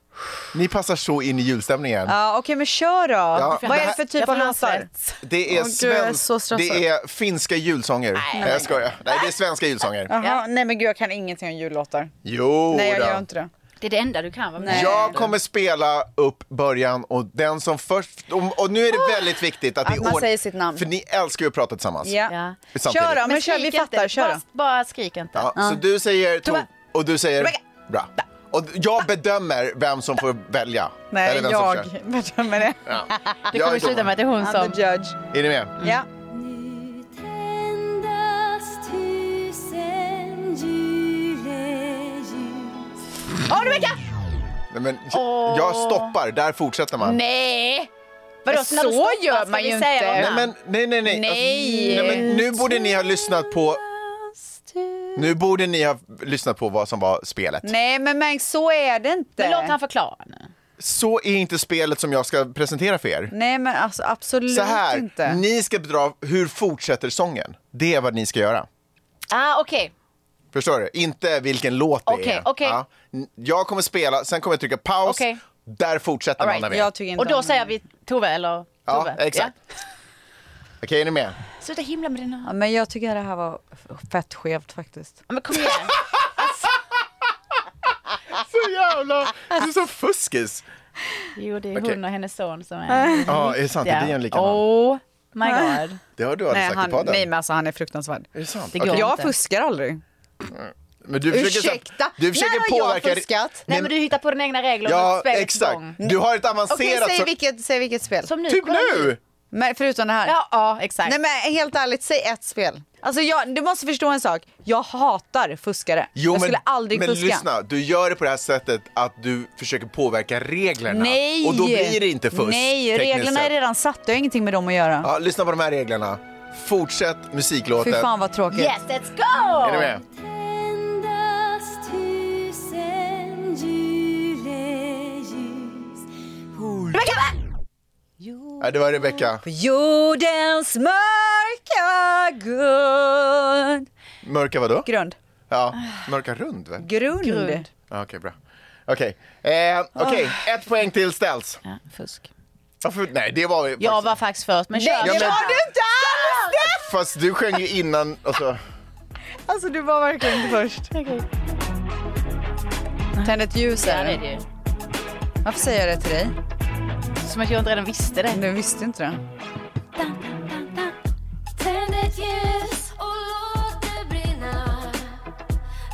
F: Ni passar så in i julstämningen.
E: Ja, okej, men kör då. Vad är det för typ
G: Jag
E: av
G: får
E: låtar?
G: handsvett.
F: Det är,
E: Åh, gud, jag är
F: svensk,
E: så stressad.
F: det är finska julsånger. Nej, jag skojar. Nej, det är svenska julsånger.
E: Jaha, nej men gud jag kan ingenting om jullåtar.
F: Jo,
E: nej jag
F: då.
E: gör inte det.
G: Det är det enda du kan va?
E: Nej.
F: Jag kommer spela upp början och den som först... Och, och nu är det väldigt viktigt att,
E: Att
F: vi
E: man
F: ord-
E: säger sitt namn.
F: För ni älskar ju att prata tillsammans.
E: Ja.
F: Samtidigt.
E: Kör då, men kör, vi
G: skrik
E: fattar,
G: inte.
E: kör då.
G: Bara, bara skrik inte.
F: Ja, Så du säger Tove
E: Tove.
F: och du säger
E: Rebecca.
F: bra. Och jag bedömer vem som får välja.
E: Nej,
F: Eller vem som
E: jag
F: kör.
E: bedömer det.
F: Ja.
G: Det
F: Jag
G: kommer
F: är
G: sluta med att det är hon
E: I'm
G: som...
E: the judge.
F: dum. Är ni med?
E: Ja.
G: Åh, Rebecka!
F: Nej, men, Jag stoppar, där fortsätter man.
G: Nej!
E: Vadå,
G: Så gör man ju inte.
F: Nej, men, nej, nej, nej.
E: Nej.
F: Alltså, nej men nu borde ni ha lyssnat på... Nu borde ni ha lyssnat på vad som var spelet.
E: Nej men Mäng, så är det inte.
G: Men låt han förklara nu.
F: Så är inte spelet som jag ska presentera för er.
E: Nej men alltså absolut
F: Så här,
E: inte.
F: ni ska bedra hur fortsätter sången. Det är vad ni ska göra.
G: Ah, okej.
F: Förstår du? Inte vilken låt det
G: Okej,
F: är.
G: okej.
F: Ja. N- Jag kommer spela, sen kommer jag trycka paus.
G: Okej.
F: Där fortsätter man
G: Alright,
F: när vi
E: Jag tycker inte
G: Och då
E: om
G: säger vi Tove eller
F: Ja,
G: Tove.
F: exakt. Okej, är ni med?
G: Ja. Sluta himla med dina...
E: Ja, men jag tycker det här var f- fett skevt faktiskt.
G: Ja, Men kom igen.
F: Så jävla... Du är så fuskis.
G: Jo, det är
F: Okej.
G: hon och hennes son som är...
F: Ja, är det sant? Det är en likadan.
G: Oh my god.
F: Det har du aldrig
E: Nej,
F: sagt
E: han,
F: i podden.
E: nej men alltså han är fruktansvärd.
F: Är det sant?
G: Det går
F: Okej.
E: Jag
G: inte.
E: fuskar aldrig.
F: Men du försöker,
E: Ursäkta?
F: Du försöker
E: När har jag
F: påverka...
E: fuskat?
G: Nej, men du hittar på dina egna regler
F: Ja,
G: och spelets
F: exakt.
G: gång.
F: Du har ett
E: Okej,
F: avancerat...
E: säg,
F: så-
E: vilket, säg vilket spel.
G: Som nu.
F: Typ
G: kolla
F: nu!
E: Men förutom det här.
G: Ja, ja, exakt.
E: Nej men helt ärligt, säg ett spel. Alltså jag, du måste förstå en sak. Jag hatar fuskare.
F: Jo,
E: jag
F: men,
E: skulle aldrig
F: men
E: fuska.
F: lyssna, du gör det på det här sättet att du försöker påverka reglerna.
E: Nej!
F: Och då blir det inte fusk.
E: Nej,
F: tekniskt
E: reglerna är
F: sett.
E: redan satta. Jag har ingenting med dem att göra.
F: Ja, lyssna på de här reglerna. Fortsätt musiklåten.
E: Fy fan vad tråkigt.
G: Yes, let's go!
F: Är ni med?
G: Jo,
F: Nej, det var Rebecca.
E: På jordens mörka grund.
F: Mörka vadå?
E: Grund.
F: Ja, mörka rund va?
E: Grund. Grund.
F: Ja, Okej, bra. Okej, eh, okej,
E: Ah.
F: ett poäng till ställs. Ja,
G: fusk.
F: för, nej, det var ju...
G: Jag var faktiskt först, men
E: Nej, det var du inte alls!
F: Fast du sjöng ju innan, alltså.
E: Alltså du var verkligen inte först. Tänd ett ljus
G: Ja, det är det ju.
E: Varför säger jag det till dig?
G: Som att jag inte redan visste det.
E: Du visste inte det.
I: Tänd ett ljus och låt det brinna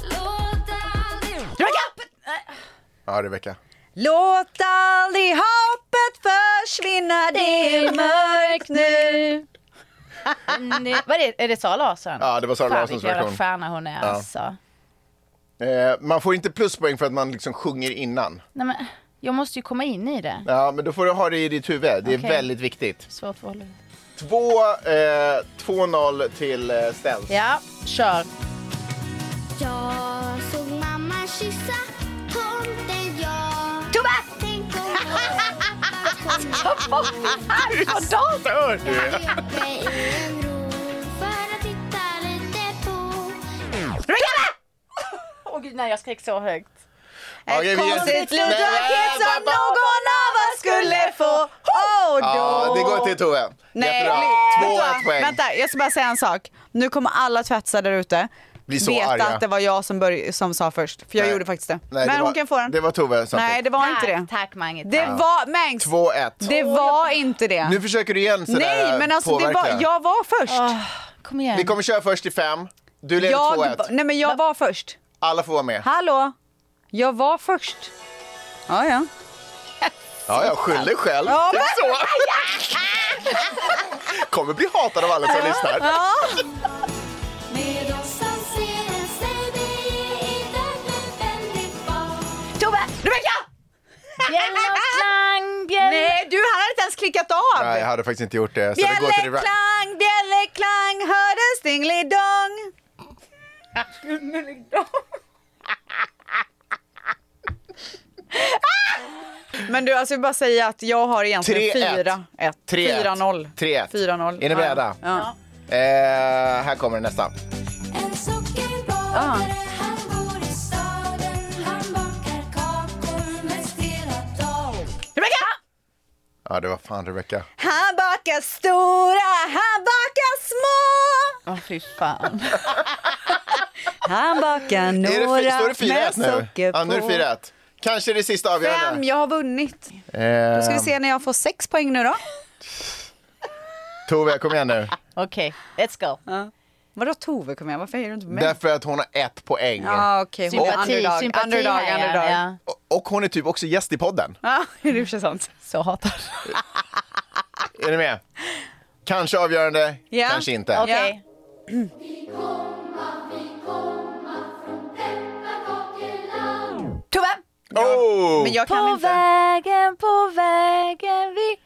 I: Låt aldrig...
F: Ja, Rebecca.
E: Låt aldrig hoppet försvinna, det är mörkt nu.
G: Nej, vad är det? Är det Sara Larsson?
F: Ja, det var Sara
G: Fan,
F: Larssons
G: vilken jävla
F: version.
G: stjärna hon är
F: Ja.
G: alltså.
F: Eh, man får inte pluspoäng för att man liksom sjunger innan.
G: Nej, men jag måste ju komma in i det.
F: Ja, men då får du ha det i ditt huvud. Det är
G: Okej.
F: väldigt viktigt.
G: Svårt för Oliver.
F: Två, eh, 2-0 till eh, ställs.
G: Ja, kör.
I: Jag såg mamma kyssa tomten jag Tobbe! Tänk om
H: Du är så störd du
I: jag
H: är.
I: kryper i en ro för att titta lite på
G: Åh gud, nej jag skrek så högt.
F: Okej, vi ger-
E: Konstigt litet
F: äh,
E: paket som någon av oss skulle få. Oh, då.
F: Ja, det går till Tove.
E: Nej,
F: Jättebra.
E: nej.
F: Två
E: vänta,
F: ett poäng.
E: vänta, jag ska bara säga en sak. Nu kommer alla tvättisar där ute
F: Bli så
E: veta
F: arga.
E: att det var jag som, börj- som sa först, för jag
F: Nej.
E: gjorde faktiskt det.
F: Nej,
E: Men
F: det
E: hon
F: var-
E: kan få den.
F: Det var Tove som
E: Nej,
F: fick.
E: det var inte det.
G: Tack, Tack Mange.
E: Det
F: Ja.
E: var, Mangs,
F: 2-1.
E: det var inte det.
F: Nu försöker du igen sådär
E: Nej, men alltså det
F: påverka.
E: var, jag var först.
G: kom igen.
F: Vi kommer köra först i fem. Du leder
E: jag,
F: 2-1.
E: Nej, men jag var först.
F: Alla får vara med.
E: Hallå? Jag var först. Ja, ja.
F: Ja, jag skyller själv.
E: Ja,
F: Det är
E: men-
F: så. Kommer bli hatad av alla som lyssnar.
E: Ja.
I: Med oss som ser en baby i världen väldigt bra
E: Tove! Rebecka!
G: Bjällerklang, bjäll...
E: Nej, du han hade inte ens klickat av.
F: Nej, jag hade faktiskt inte gjort det. Så det går till det
E: Bjällerklang, bjällerklang, hördes dingelidong. Men du, alltså jag vill bara säga att jag har egentligen
F: 3-1.
E: 4-1. 4-0.
F: 3-1.
E: 4-0.
F: Är ni beredda?
E: Ja.
F: Eh, här kommer nästa.
I: En sockerbagare han går i staden Han bakar kakor mest hela dagen
E: Rebecka!
F: Ja, det var fan Rebecca.
E: Han bakar stora, han bakar små.
G: Åh fy fan.
E: Han bakar
F: Är det,
E: några
F: fy- står det 4-1
E: med
F: nu?
E: socker på.
F: Ja, nu är det 4-1. Kanske det sista
E: Fem,
F: avgörande.
E: jag har vunnit.
F: Eh,
E: Då ska vi se när jag får sex poäng nu då.
F: Tove, kom igen nu.
G: Okej, let's go.
E: Ja. Vadå Tove kom igen, varför säger du inte på mig?
F: Därför att hon har ett poäng.
E: Ja okej, hon är
F: Och-
E: underdog, underdog, underdog. Ja.
F: Och hon är typ också gäst i podden.
E: det är i och för sig sant.
G: Så hatad.
F: Är ni med? Kanske avgörande,
E: Ja.
F: kanske inte.
G: Okej.
E: Tove!
F: Oh!
E: Men jag kan
G: på
E: inte.
G: vägen, på vägen vi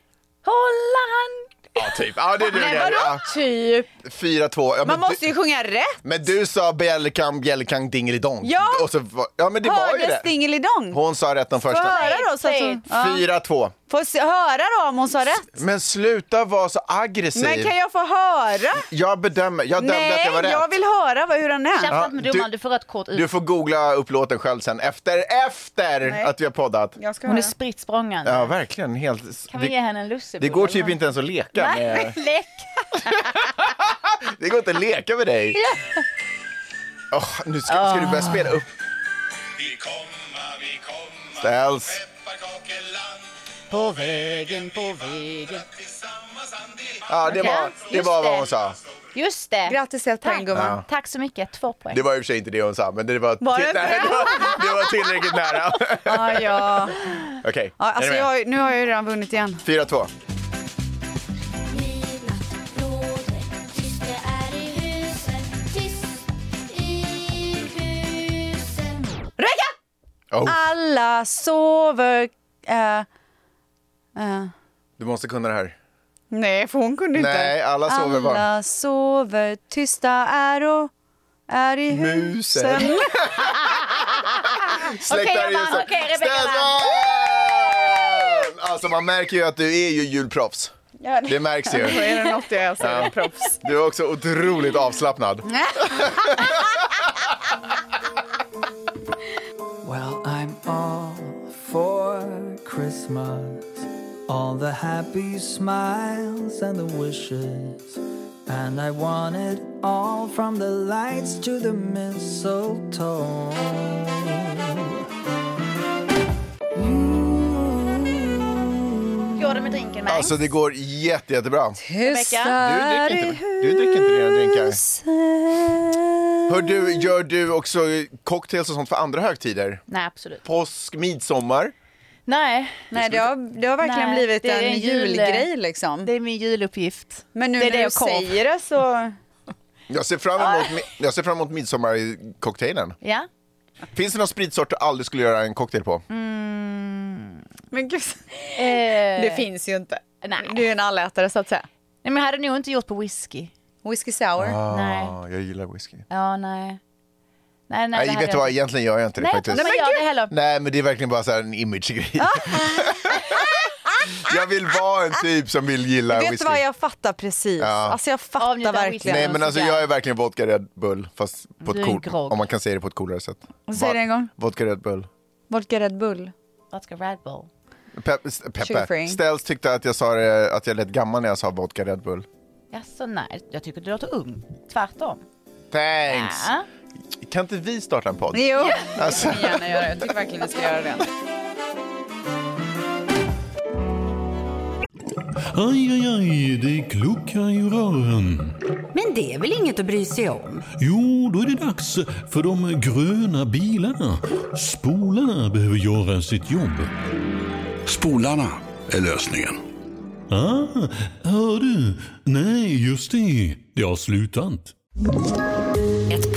G: håller hand.
F: Ja, typ. Ja, det duger. Ja.
E: Typ.
F: 4-2. Ja, men
E: Man måste
F: du,
E: ju sjunga rätt.
F: men du sa bjälkang, bjälkang, dingelidong.
E: Ja.
F: Och så, var- ja, men det var ju
E: Hördes
F: det.
E: dingelidong?
F: Hon sa rätt den
E: Få
F: första.
E: höra då. Så att hon, ja.
F: 4-2.
E: Få se- höra då om hon sa rätt.
F: Men sluta vara så aggressiv.
E: Men kan jag få höra?
F: Jag bedömer, jag dömde att jag var rätt.
E: jag vill höra vad, hur den är.
F: Ja,
G: Käftat med domaren, du får rött kort
F: Du
G: ut.
F: får googla upp låten själv sen efter, efter
G: Nej.
F: att vi har poddat.
E: Jag ska
G: Hon är
E: höra.
G: spritt språngande.
F: Ja, verkligen. Helt,
G: Kan vi ge
F: det,
G: henne en lussebulle?
F: det går typ
G: eller?
F: inte ens att leka
G: Nej,
F: med,
G: lek.
F: Det går inte att leka med dig. Åh, nu ska, ska du börja spela upp. Ställs.
G: På vägen, på vägen.
F: Ja, det var, det var vad hon sa.
G: Just det.
E: Grattis till ett poäng gumman.
F: Ja.
G: Tack så mycket, två poäng.
F: Det var i och för sig inte det hon sa, men det var,
E: Var det
F: till-
E: inte
F: nej, det var, det var tillräckligt nära.
E: Ja, ja.
F: Okej, okay,
E: Ja, alltså jag, har ju- nu har jag ju redan vunnit igen.
F: 4-2.
I: Råder, tyst det är i husen Tyst i husen
E: Rebecka!
F: Oh,
E: Ah. Alla sover... eh, eh,
F: du måste kunna det här.
E: nej, för hon kunde inte.
F: Nej, alla sover bara.
E: Alla sover, tysta är och är i
F: Musen.
E: husen.
F: Släck
G: Okej,
F: där
G: jag vann.
F: ljuset.
G: Okej, Rebecca
F: Ställ
G: vann.
F: den! Alltså man märker ju att du är ju julproffs.
E: Ja,
F: Det märks ju.
E: Är det något jag är så är det proffs.
F: Du är också otroligt avslappnad.
C: Well, I'm all for Christmas. All the happy smiles and the wishes. And I want it all from the lights to the mistletoe.
G: Går det med drinken med?
F: Alltså det går jätte, jättebra.
G: Rebecka?
F: Du dricker inte, du dricker inte dina drinkar. Hör du, gör du också cocktails och sånt för andra högtider?
G: Nej, absolut.
F: Påsk, midsommar?
G: Nej.
E: Nej, det har, det har verkligen
G: Nej,
E: blivit
G: det är
E: en,
G: en jul-
E: julgrej liksom. Det
G: är min juluppgift.
E: Men nu
G: Det är
E: när
G: det
E: du
G: och korv.
E: säger det så...
F: Jag ser fram emot, mi- jag ser fram emot midsommarcocktailen.
G: Ja.
F: Finns det någon spritsort du aldrig skulle göra en cocktail på?
E: Men gud.
G: Det
E: Det finns ju inte. Eh. Nej. Du är en allätare så att säga.
G: Eh, Nej, men jag hade nog inte gjort på whisky.
E: Whisky sour?
G: Nej.
F: Ah, jag gillar whisky.
G: Ja, nej. Nej,
F: Nej,
G: nej, det hade
F: vet du
G: jag-
F: vad, egentligen gör jag inte det
G: Nej, jag tror
F: faktiskt.
G: inte man gör det heller.
F: Nej, men det är verkligen bara så här en
E: Ah.
F: image-grej. jag vill vara en typ som vill gilla
E: Vet
F: whisky.
E: du vad, jag fattar precis.
F: Ja.
E: Alltså jag fattar verkligen.
F: Nej, men alltså jag är verkligen vodka Red Bull, fast på
E: Du är
F: ett
E: en
F: cool,
E: grogg.
F: om man kan säga det på ett coolare sätt.
E: Säg det en gång.
F: Vodka Red Bull.
E: Vodka Red Bull.
G: Vodka Red Bull.
F: Pep, s-
E: Sugar free.
F: Peppe, Ställs tyckte att jag, sa det, att jag lät gammal när jag sa vodka Red Bull.
G: Jaså, nej. Jag tycker du låter ung. Tvärtom. Äh.
F: Thanks!
G: Ja.
F: Kan inte vi starta en podd?
E: Jo.
F: Alltså.
E: Jag gärna göra det. Jag tycker verkligen vi ska göra det.
J: Aj, aj, aj, det kluckar i rören.
K: Men det är väl inget att bry sig om?
J: Jo, då är det dags för de gröna bilarna. Spolarna behöver göra sitt jobb.
L: Spolarna är lösningen.
J: Ah, hör du? Nej, just det. Det har slutat.
M: Ett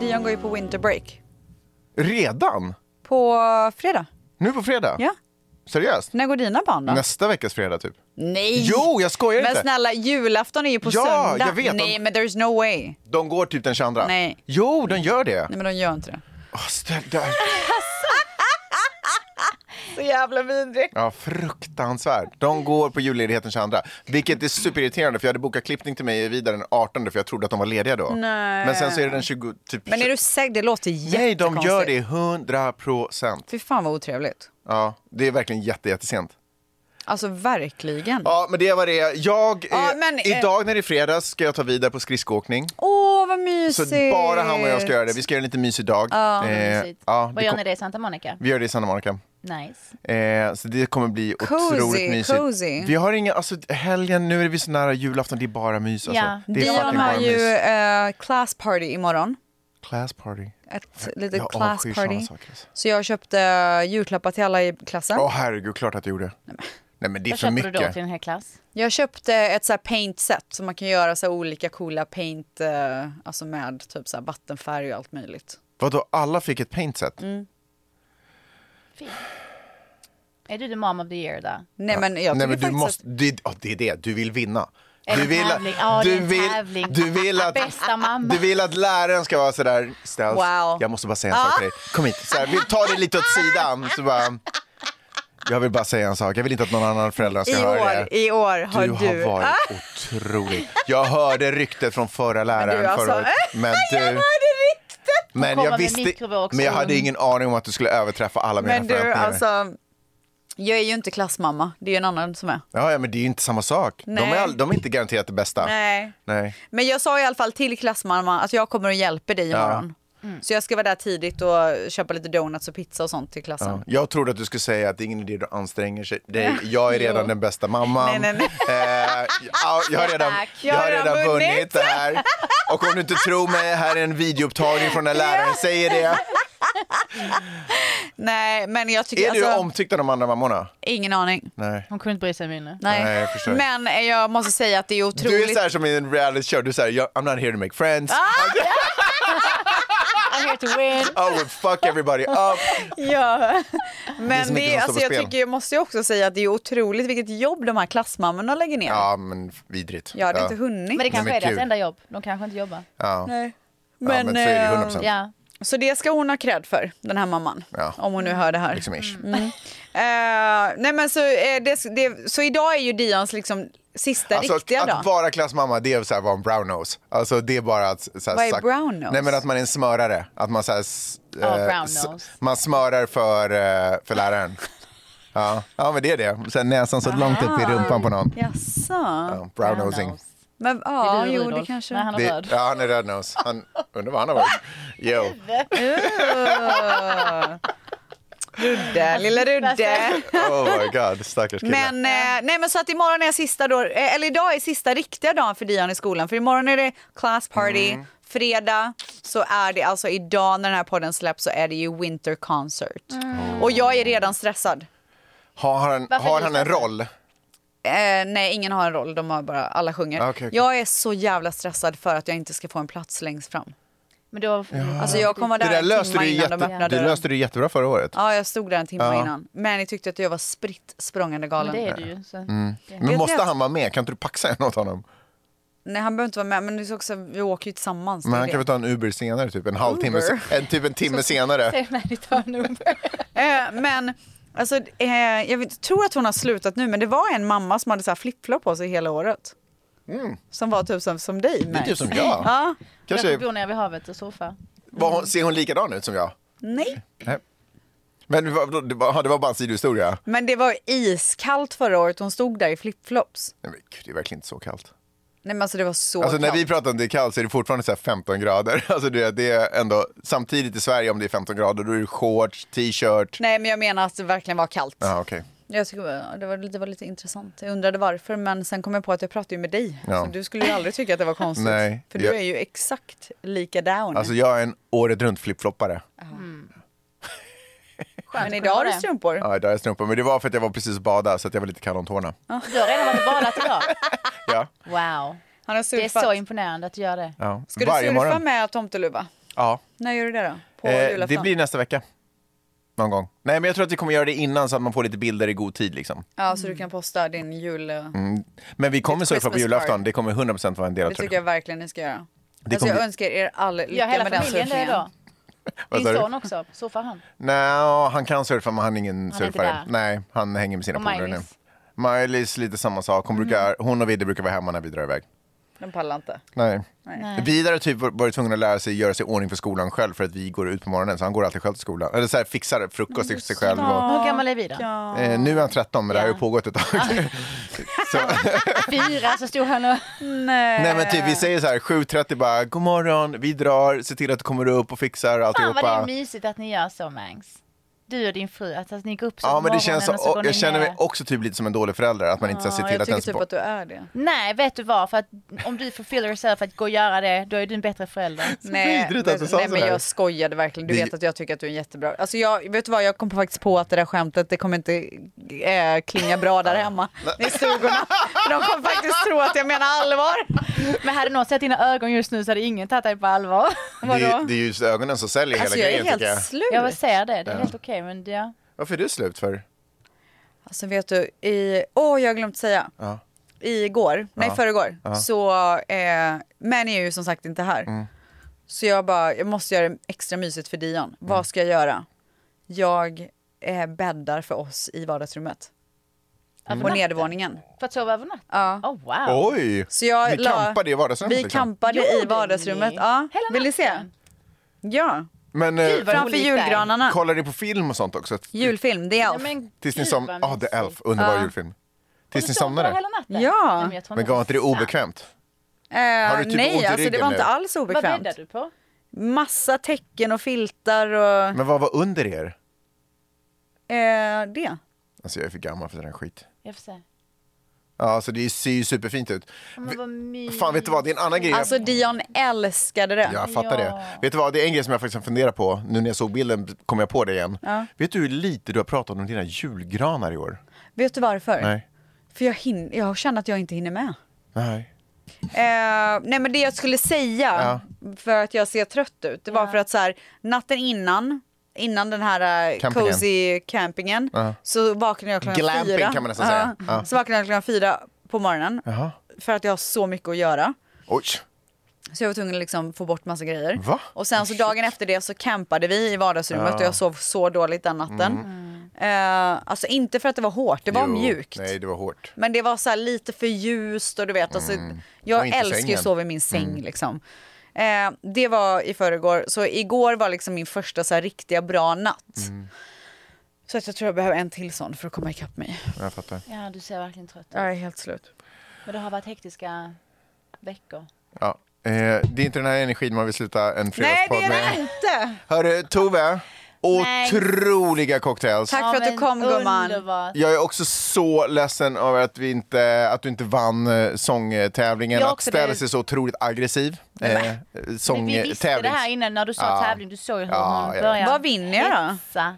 E: Dion går ju på winter break.
F: Redan?
E: På fredag.
F: Nu på fredag?
E: Ja.
F: Seriöst?
E: När går dina barn då?
F: Nästa veckas fredag typ.
E: Nej!
F: Jo, jag skojar
E: men
F: inte.
E: snälla, julafton är ju på
F: Ja,
E: söndag.
F: jag vet.
E: Nej, men there's no way. Nej,
F: De går typ den 22.
E: Nej.
F: Jo, de gör det.
E: men de gör inte det.
F: Åh, Ah, ställ där.
E: Så jävla vidrigt.
F: Ja, fruktansvärt. De går på julledigheten 22, vilket är superirriterande för jag hade bokat klippning till mig vidare den 18 för jag trodde att de var lediga då.
E: Nej.
F: Men sen så är det den 20, typ
E: Men är du säker? Det låter jättekonstigt.
F: Nej, de gör det 100 procent.
E: Fy fan vad otrevligt.
F: Ja, det är verkligen jätte, jättesent.
E: Alltså verkligen.
F: Ja, men det var det. Jag,
E: Ja,
F: eh,
E: men, eh,
F: idag när det är fredag ska jag ta vidare på skridskoåkning.
E: Åh, vad mysigt.
F: Så bara han och jag ska göra det. Vi ska göra en lite mysig dag.
G: Ja,
F: Eh,
G: mysigt.
F: ja,
G: Vad
F: det
G: gör
F: kom-
G: ni det i Santa Monica?
F: Vi gör det i Santa Monica.
G: Nice.
F: Eh, så det kommer bli
E: Cozy,
F: otroligt mysigt.
E: cozy.
F: Vi har inga, alltså helgen, nu är vi så nära julafton, det är bara mys alltså.
E: Ja.
F: Det är
E: Dion
F: fucking
E: har
F: bara
E: ju
F: mys.
E: eh, class party imorgon.
F: Class party.
E: Ett litet
F: jag
E: class
F: avskyr
E: party.
F: såna saker, alltså.
E: Så jag köpte julklappar till alla i klassen.
F: Åh herregud, klart att du gjorde. Nej men det är
E: Vad
F: för
E: köper du då
F: mycket.
E: till
G: En hel klass.
E: Jag köpte ett så här paint set så man kan göra så här olika coola paint, eh, alltså med typ så här vattenfärg och allt möjligt.
F: Vadå, alla fick ett paintset?
E: Mm.
G: Är du the mom of the year där?
E: Nej men jag
F: Nej,
E: tycker
F: men du
E: faktiskt
F: måste, det, ja, det är det, du vill vinna.
G: Är det
F: Du
G: en
F: vill,
G: tävling? Ja, det är
F: du,
G: en
F: vill,
G: tävling.
F: du, vill att,
G: Bästa mamma.
F: du vill att läraren ska vara sådär, Ställs,
G: Wow.
F: jag måste bara säga en sak
G: Ah.
F: till dig. Kom hit, så här, vi tar det lite åt sidan. Så bara, jag vill bara säga en sak, jag vill inte att någon annan förälder
E: att
F: ska
E: i
F: höra
E: år,
F: det.
E: i år har
F: Du
E: du...
F: har varit
E: Ah,
F: otrolig. Jag hörde ryktet från förra läraren
E: du, alltså.
F: förra året. Men
E: Jag
F: du, Mm,
E: hörde ryktet!
F: men jag visste, men jag hade ingen aning om att du skulle överträffa alla mina
E: Men du,
F: förväntningar.
E: alltså, jag är ju inte klassmamma, det är ju en annan som är.
F: Ja, ja, men det är ju inte samma sak. De
E: Nej.
F: är, all, de är inte garanterat det bästa.
E: Nej.
F: Nej.
E: Men jag sa i alla fall till klassmamma att jag kommer och hjälper dig
F: Ja.
E: imorgon. Så jag ska vara där tidigt och köpa lite donuts och pizza och sånt till klassen.
F: Ja. Jag trodde att du skulle säga att det är ingen idé att du anstränger sig. Det, jag är
E: Jo.
F: redan den bästa mamman.
E: Nej, nej,
F: Eh, ja, jag har redan,
E: Tack.
F: jag har redan vunnit det här. Och om du inte tror mig, här är en videoupptagning från när läraren säger det.
E: Nej, men jag tycker...
F: Är du
E: alltså,
F: omtyckt av de andra mammorna?
E: Ingen aning.
F: Nej.
G: Hon kunde inte bry sig mindre.
E: Nej.
F: Nej, jag förstår.
E: men eh, jag måste säga att det är otroligt... Ah.
F: Du är så här som i en reality show, du är så här, "Jag- I'm not here to make friends.
G: I'm here to win.
F: I will fuck everybody up.
E: ja.
F: Det är så
E: Men det,
F: mycket som
E: är,
F: står
E: alltså,
F: på
E: jag,
F: spel.
E: tycker, jag måste ju också säga att det är otroligt vilket jobb de här klassmammorna lägger ner.
F: Ja, men vidrigt.
E: Jag hade inte hunnit.
G: Men det kanske
F: men
G: är deras
F: kul.
G: enda jobb. De kanske inte jobbar.
F: Ja.
E: Nej.
F: Ja, men så är det ju 100%.
E: eh, så det ska hon ha cred för, den här mamman.
F: Ja.
E: Om hon nu hör det här.
F: Liksom ish.
E: Mm. Eh, nej men så, eh, det, det, så idag är ju Dians liksom sista
F: Alltså,
E: riktiga
F: att
E: dag.
F: vara klassmamma, det är så här, vara en brownose. Alltså, det är bara att... Så här,
E: Vad är
F: sagt-
E: brownose?
F: Nej, men att man är en smörare. Att man så här, s-
G: Ja,
F: eh,
G: brownose.
F: s- man smörar för, eh, för läraren. ja. ja, men det är det. Sen näsan så långt upp
E: Ah.
F: i rumpan på någon.
E: Jaså?
F: Ja, brownosing.
E: Men ja,
G: Det är du,
E: jo
G: Rudolf.
E: det kanske...
G: Nej, han har
F: Det-
G: röd.
F: Ja, han är rödnos. Han, undrar vad han har varit. Jo.
E: Öh. Rudde,
G: alltså
E: lilla Rudde.
F: Oh my god, stackars kille.
E: Men, eh, nej, men så att imorgon är sista då, eh, eller idag är sista riktiga dagen för Dion i skolan. För imorgon är det class party,
F: Mm.
E: fredag så är det alltså idag när den här podden släpps så är det ju winter concert.
F: Mm.
E: Och jag är redan stressad.
F: Har han,
E: Varför
F: har
E: är
F: han
E: du
F: en
E: så-
F: roll?
E: Eh, nej, ingen har en roll, de har bara, alla sjunger.
F: Ah, Okej, okej.
E: Jag är så jävla stressad för att jag inte ska få en plats längst fram.
G: Men då...
E: Alltså jag kommer
F: Det
E: där
F: där
E: en
F: löste
E: timme
F: du,
E: innan
F: jätte,
E: de öppnar
F: det
E: dörren.
F: löste du jättebra förra året.
E: Ja, jag stod där en timme
F: Ja.
E: innan. Men ni tyckte att jag var spritt språngande galen.
G: Men det är du ju, så-
F: Mm.
E: Vet
F: Men måste
E: ni att-
F: han vara med? Kan inte du paxa en åt honom?
E: Nej, han behöver inte vara med. Men det är också, vi åker ju tillsammans.
F: Men
E: det är
F: han kan
E: det.
F: väl ta en Uber senare, typ en halvtimme,
E: Uber?
F: se- en, typ en timme senare.
G: Säg när ni tar en Uber.
E: Eh, men alltså, eh, jag vet, tror att hon har slutat nu, men det var en mamma som hade så här flip-flop på sig hela året. Som var typ som, som dig.
F: Mm. Det är typ
E: Max.
F: som jag.
E: Ja.
F: Kanske-
G: Kanske... bor nere vid havet och surfar.
F: Var hon, ser hon likadan ut som jag?
E: Nej.
F: Nej. Men det var, det var, det var bara en sidohistoria?
E: Men det var iskallt förra året. Hon stod där i flip-flops.
F: Nej men gud, det är verkligen inte så kallt.
E: Nej, men alltså det var så
F: alltså när
E: kallt.
F: vi pratar om det är kallt så är det fortfarande så här 15 grader. Alltså det, det är ändå, samtidigt i Sverige om det är 15 grader då är det shorts, t-shirt.
E: Nej, men jag menar att det verkligen var kallt.
F: Ja, okej.
E: Jag tycker, ja, det, var, det var lite intressant. Jag undrade varför, men sen kom jag på att jag pratade ju med dig.
F: Ja.
E: Så du skulle ju aldrig tycka att det var konstigt.
F: Nej,
E: för du
F: jag-
E: är ju exakt likadan.
F: Alltså jag är en året runt flipfloppare.
E: men idag har du strumpor.
F: Ja, där är strumpor. Men det var för att jag var precis bada så att jag var lite kall om tårna.
G: Du har redan varit och badat idag.
F: Ja.
G: Wow.
E: Han har
G: det är
E: surfat.
G: så imponerande att du gör det.
F: Ja.
E: Ska
F: Varje
E: du surfa
F: morgon.
E: med tomteluva?
F: Ja.
E: När gör du det då? På
F: Eh,
E: julafton?
F: det blir nästa vecka. Någon gång. Nej, men jag tror att vi kommer göra det innan så att man får lite bilder i god tid. Liksom.
E: Ja, så du kan posta din jul... eh,
F: Mm. Men vi kommer
E: Ett
F: surfa på
E: Christmas
F: julafton.
E: party.
F: Det kommer 100% vara en del av
E: Det tycker jag verkligen ni ska göra. alltså,
F: Det kommer
E: jag
F: bli-
E: önskar er all lycka
G: Gör hela
E: med den
G: familjen det
E: surfningen.
G: idag?
F: Vad
G: Din
F: sa du?
G: son också? Surfar han?
F: Nej, han kan surfa men han är ingen
G: Han är inte
F: surfare.
G: där.
F: Nej, han hänger med sina
G: Och
F: polare nu.
G: Maj-Lis.
F: Miley's lite samma sak.
E: Mm.
F: Hon, brukar, hon och Vidde brukar vara hemma när vi drar iväg.
E: De pallar inte.
F: Nej.
E: Nej.
F: Vidar har typ varit tvungen att lära sig göra sig i ordning för skolan själv för att vi går ut på morgonen. Så han går alltid själv till skolan. Eller så här, fixar frukost till sig själv. Och,
G: Hur gammal är vi då?
F: eh, nu är han 13 men det här har ju pågått ett tag.
G: Fyra så stod han och...
E: Nej.
F: Nej men
G: Eh.
F: typ vi säger så här 7.30 bara, god morgon, vi drar, se till att du kommer upp och fixar
G: Fan vad det är
F: alltihopa.
G: mysigt att ni gör så Mangs. Du och din fru, att, att ni går upp så
F: Ja
G: på
F: men det
G: morgonen
F: känns,
G: och så går ni
F: jag känner
G: ner.
F: mig också typ lite som en dålig förälder, att man inte ska se
E: Ja,
F: till
E: jag
F: att
E: tycker
F: ens
E: typ
F: barn-
E: att du är det.
G: Nej, vet du vad? För att om du fulfiller yourself att gå och göra det, då är du en bättre förälder.
E: Nej,
F: vidrigt
E: men,
F: att du sa
E: nej men
F: sådär.
E: jag skojade verkligen. Du
F: Det-
E: vet att jag tycker att du är en jättebra. Alltså jag, vet du vad, jag kom faktiskt på att det där skämtet, det kommer inte eh, klinga bra där hemma i stugorna. För De kommer faktiskt tro att jag menar allvar.
G: Men hade någon sett dina ögon just nu så hade ingen tagit dig på allvar.
F: det, är- det är ju ögonen som säljer
E: Alltså
F: hela
E: jag
F: grejen
E: är
F: tycker jag.
E: helt slut.
G: Jag vill säga det,
F: Ja.
G: det är
F: Mm.
G: helt okej men ja.
F: Varför är du slut för?
E: Alltså vet du, i, åh jag har glömt säga.
F: Ja.
E: Igår, nej
F: Ja.
E: förrgår,
F: Ja. Mm.
E: så, eh, men är ju som sagt inte här. Så jag bara, jag måste göra det extra mysigt för Dion.
F: Mm.
E: Vad ska jag göra? Jag eh, bäddar för oss i vardagsrummet.
F: Mm.
E: På
G: natten?
E: nedervåningen.
G: För att sova över natten?
E: Ja.
G: Oh, wow.
F: Oj!
E: Så jag
F: Ni
E: la-
F: campade i vardagsrummet
E: Vi
F: liksom.
E: campade
G: Gjorde
E: i vardagsrummet.
G: ni?
E: Ja. Vill ni se? Ja,
F: Men
G: Gud, vad
F: eh,
G: roligt.
E: framför
G: där.
E: julgranarna.
F: kollar ni på film och sånt också?
E: Julfilm, The Elf.
F: Tills ni som, ah The Elf, underbar
E: Ja.
F: julfilm. Tills ni somnade?
G: Hela natten?
E: Ja.
G: Nej, men jag tror
F: Men gav inte det obekvämt?
E: Eh,
F: Har du typ ont
E: nej,
F: i
E: alltså det
F: ryggen
E: var
F: nu?
E: inte alls
G: Vad
E: obekvämt.
G: bäddar du på?
E: Massa tecken och filtar och
F: Men vad var under er?
E: eh, det.
F: Mm. Alltså jag är för gammal för den här skit.
G: Jag får se.
F: Ja, så det ser ju superfint ut.
G: Men vad mysigt.
F: Fan, vet du vad? Det är en annan grej.
E: Alltså Dion älskade det.
F: Jag fattar det. Vet du vad, det är en grej som jag faktiskt funderar på. Nu när jag såg bilden kom jag på det igen.
E: Ja.
F: Vet du hur lite du har pratat om dina julgranar i år?
E: Vet du varför?
F: Nej.
E: För jag, hin- jag känner att jag inte hinner med.
F: Nej.
E: Eh, nej men det jag skulle säga, för att jag ser trött ut, det var för att så här, natten innan, innan den här eh,
F: Campingen.
E: cozy campingen,
F: Ja.
E: så vaknade jag klockan
F: Glamping
E: fyra.
F: kan man nästan
E: Ja.
F: säga. Ja.
E: Så vaknade jag klockan fyra på morgonen,
F: Jaha.
E: för att jag har så mycket att göra.
F: Oj.
E: Så jag var tvungen att liksom få bort massa grejer.
F: Va? Oh,
E: Och sen så dagen efter det så campade vi i vardagsrummet
F: Ja. Mm.
E: och jag sov så dåligt den natten. Eh, alltså inte för att det var hårt, det var
F: Jo,
E: mjukt.
F: Nej, det var hårt.
E: Men det var så här lite för ljust och du vet, alltså,
F: Mm. Och
E: jag
F: inte
E: älskar ju
F: sängen.
E: att sova i min säng
F: Mm.
E: liksom. Eh, det var i förrgår, så igår var liksom min första så här riktiga bra natt.
F: Mm.
E: Så att jag tror jag behöver en till sån för att komma ikapp mig.
F: Jag fattar.
G: Ja, du ser verkligen trött ut.
E: Jag är helt slut.
G: Men det har varit hektiska veckor.
F: Ja. Eh, det är inte den här energin man vill sluta en
G: Nej, det är
F: fredagspodd
G: det
F: med.
E: Inte!
F: Hörru, Tove.
G: Nej.
F: Otroliga cocktails.
E: Tack för att du kom gumman.
F: Jag är också så ledsen över att, vi inte, att du inte vann eh, sångtävlingen.
G: Jag
F: Att
G: också
F: Ställ
G: blev-
F: sig så otroligt aggressiv. Eh,
G: Men vi visste
F: sångtävling.
G: det här innan när du sa
F: Ja.
G: tävling. Du såg ju hur
F: Ja,
G: hon
F: ja.
G: började.
E: Vad vinner jag då?
G: hetsa.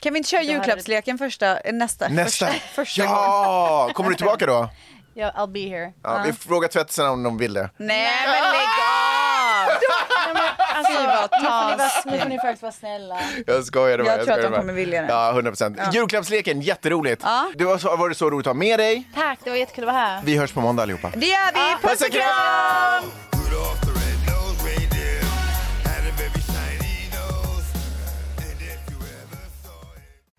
E: Kan vi inte köra julklappsleken första, eh, nästa,
F: Nästa.
E: första, första
F: ja,
E: gången?
F: kommer du tillbaka då?
G: Ja, I'll be here.
F: Ja, Vi frågar tvättisarna om de vill det.
E: Nej men lägg av!
G: Nej, men alltså,
E: Fy, vad
G: nu får ni vara-
E: taskigt.
G: Nu får ni faktiskt vara snälla.
F: Jag skojar bara.
E: Jag tror att
F: skojar
E: de
F: bara.
E: kommer vilja det.
F: Ja, 100 procent.
G: Ja.
F: Julklappsleken, jätteroligt.
G: Ja.
F: Det var så, var det så roligt att ha med dig.
G: Tack, det var jättekul att vara här.
F: Vi hörs på måndag allihopa.
E: Det gör vi! Puss och kram!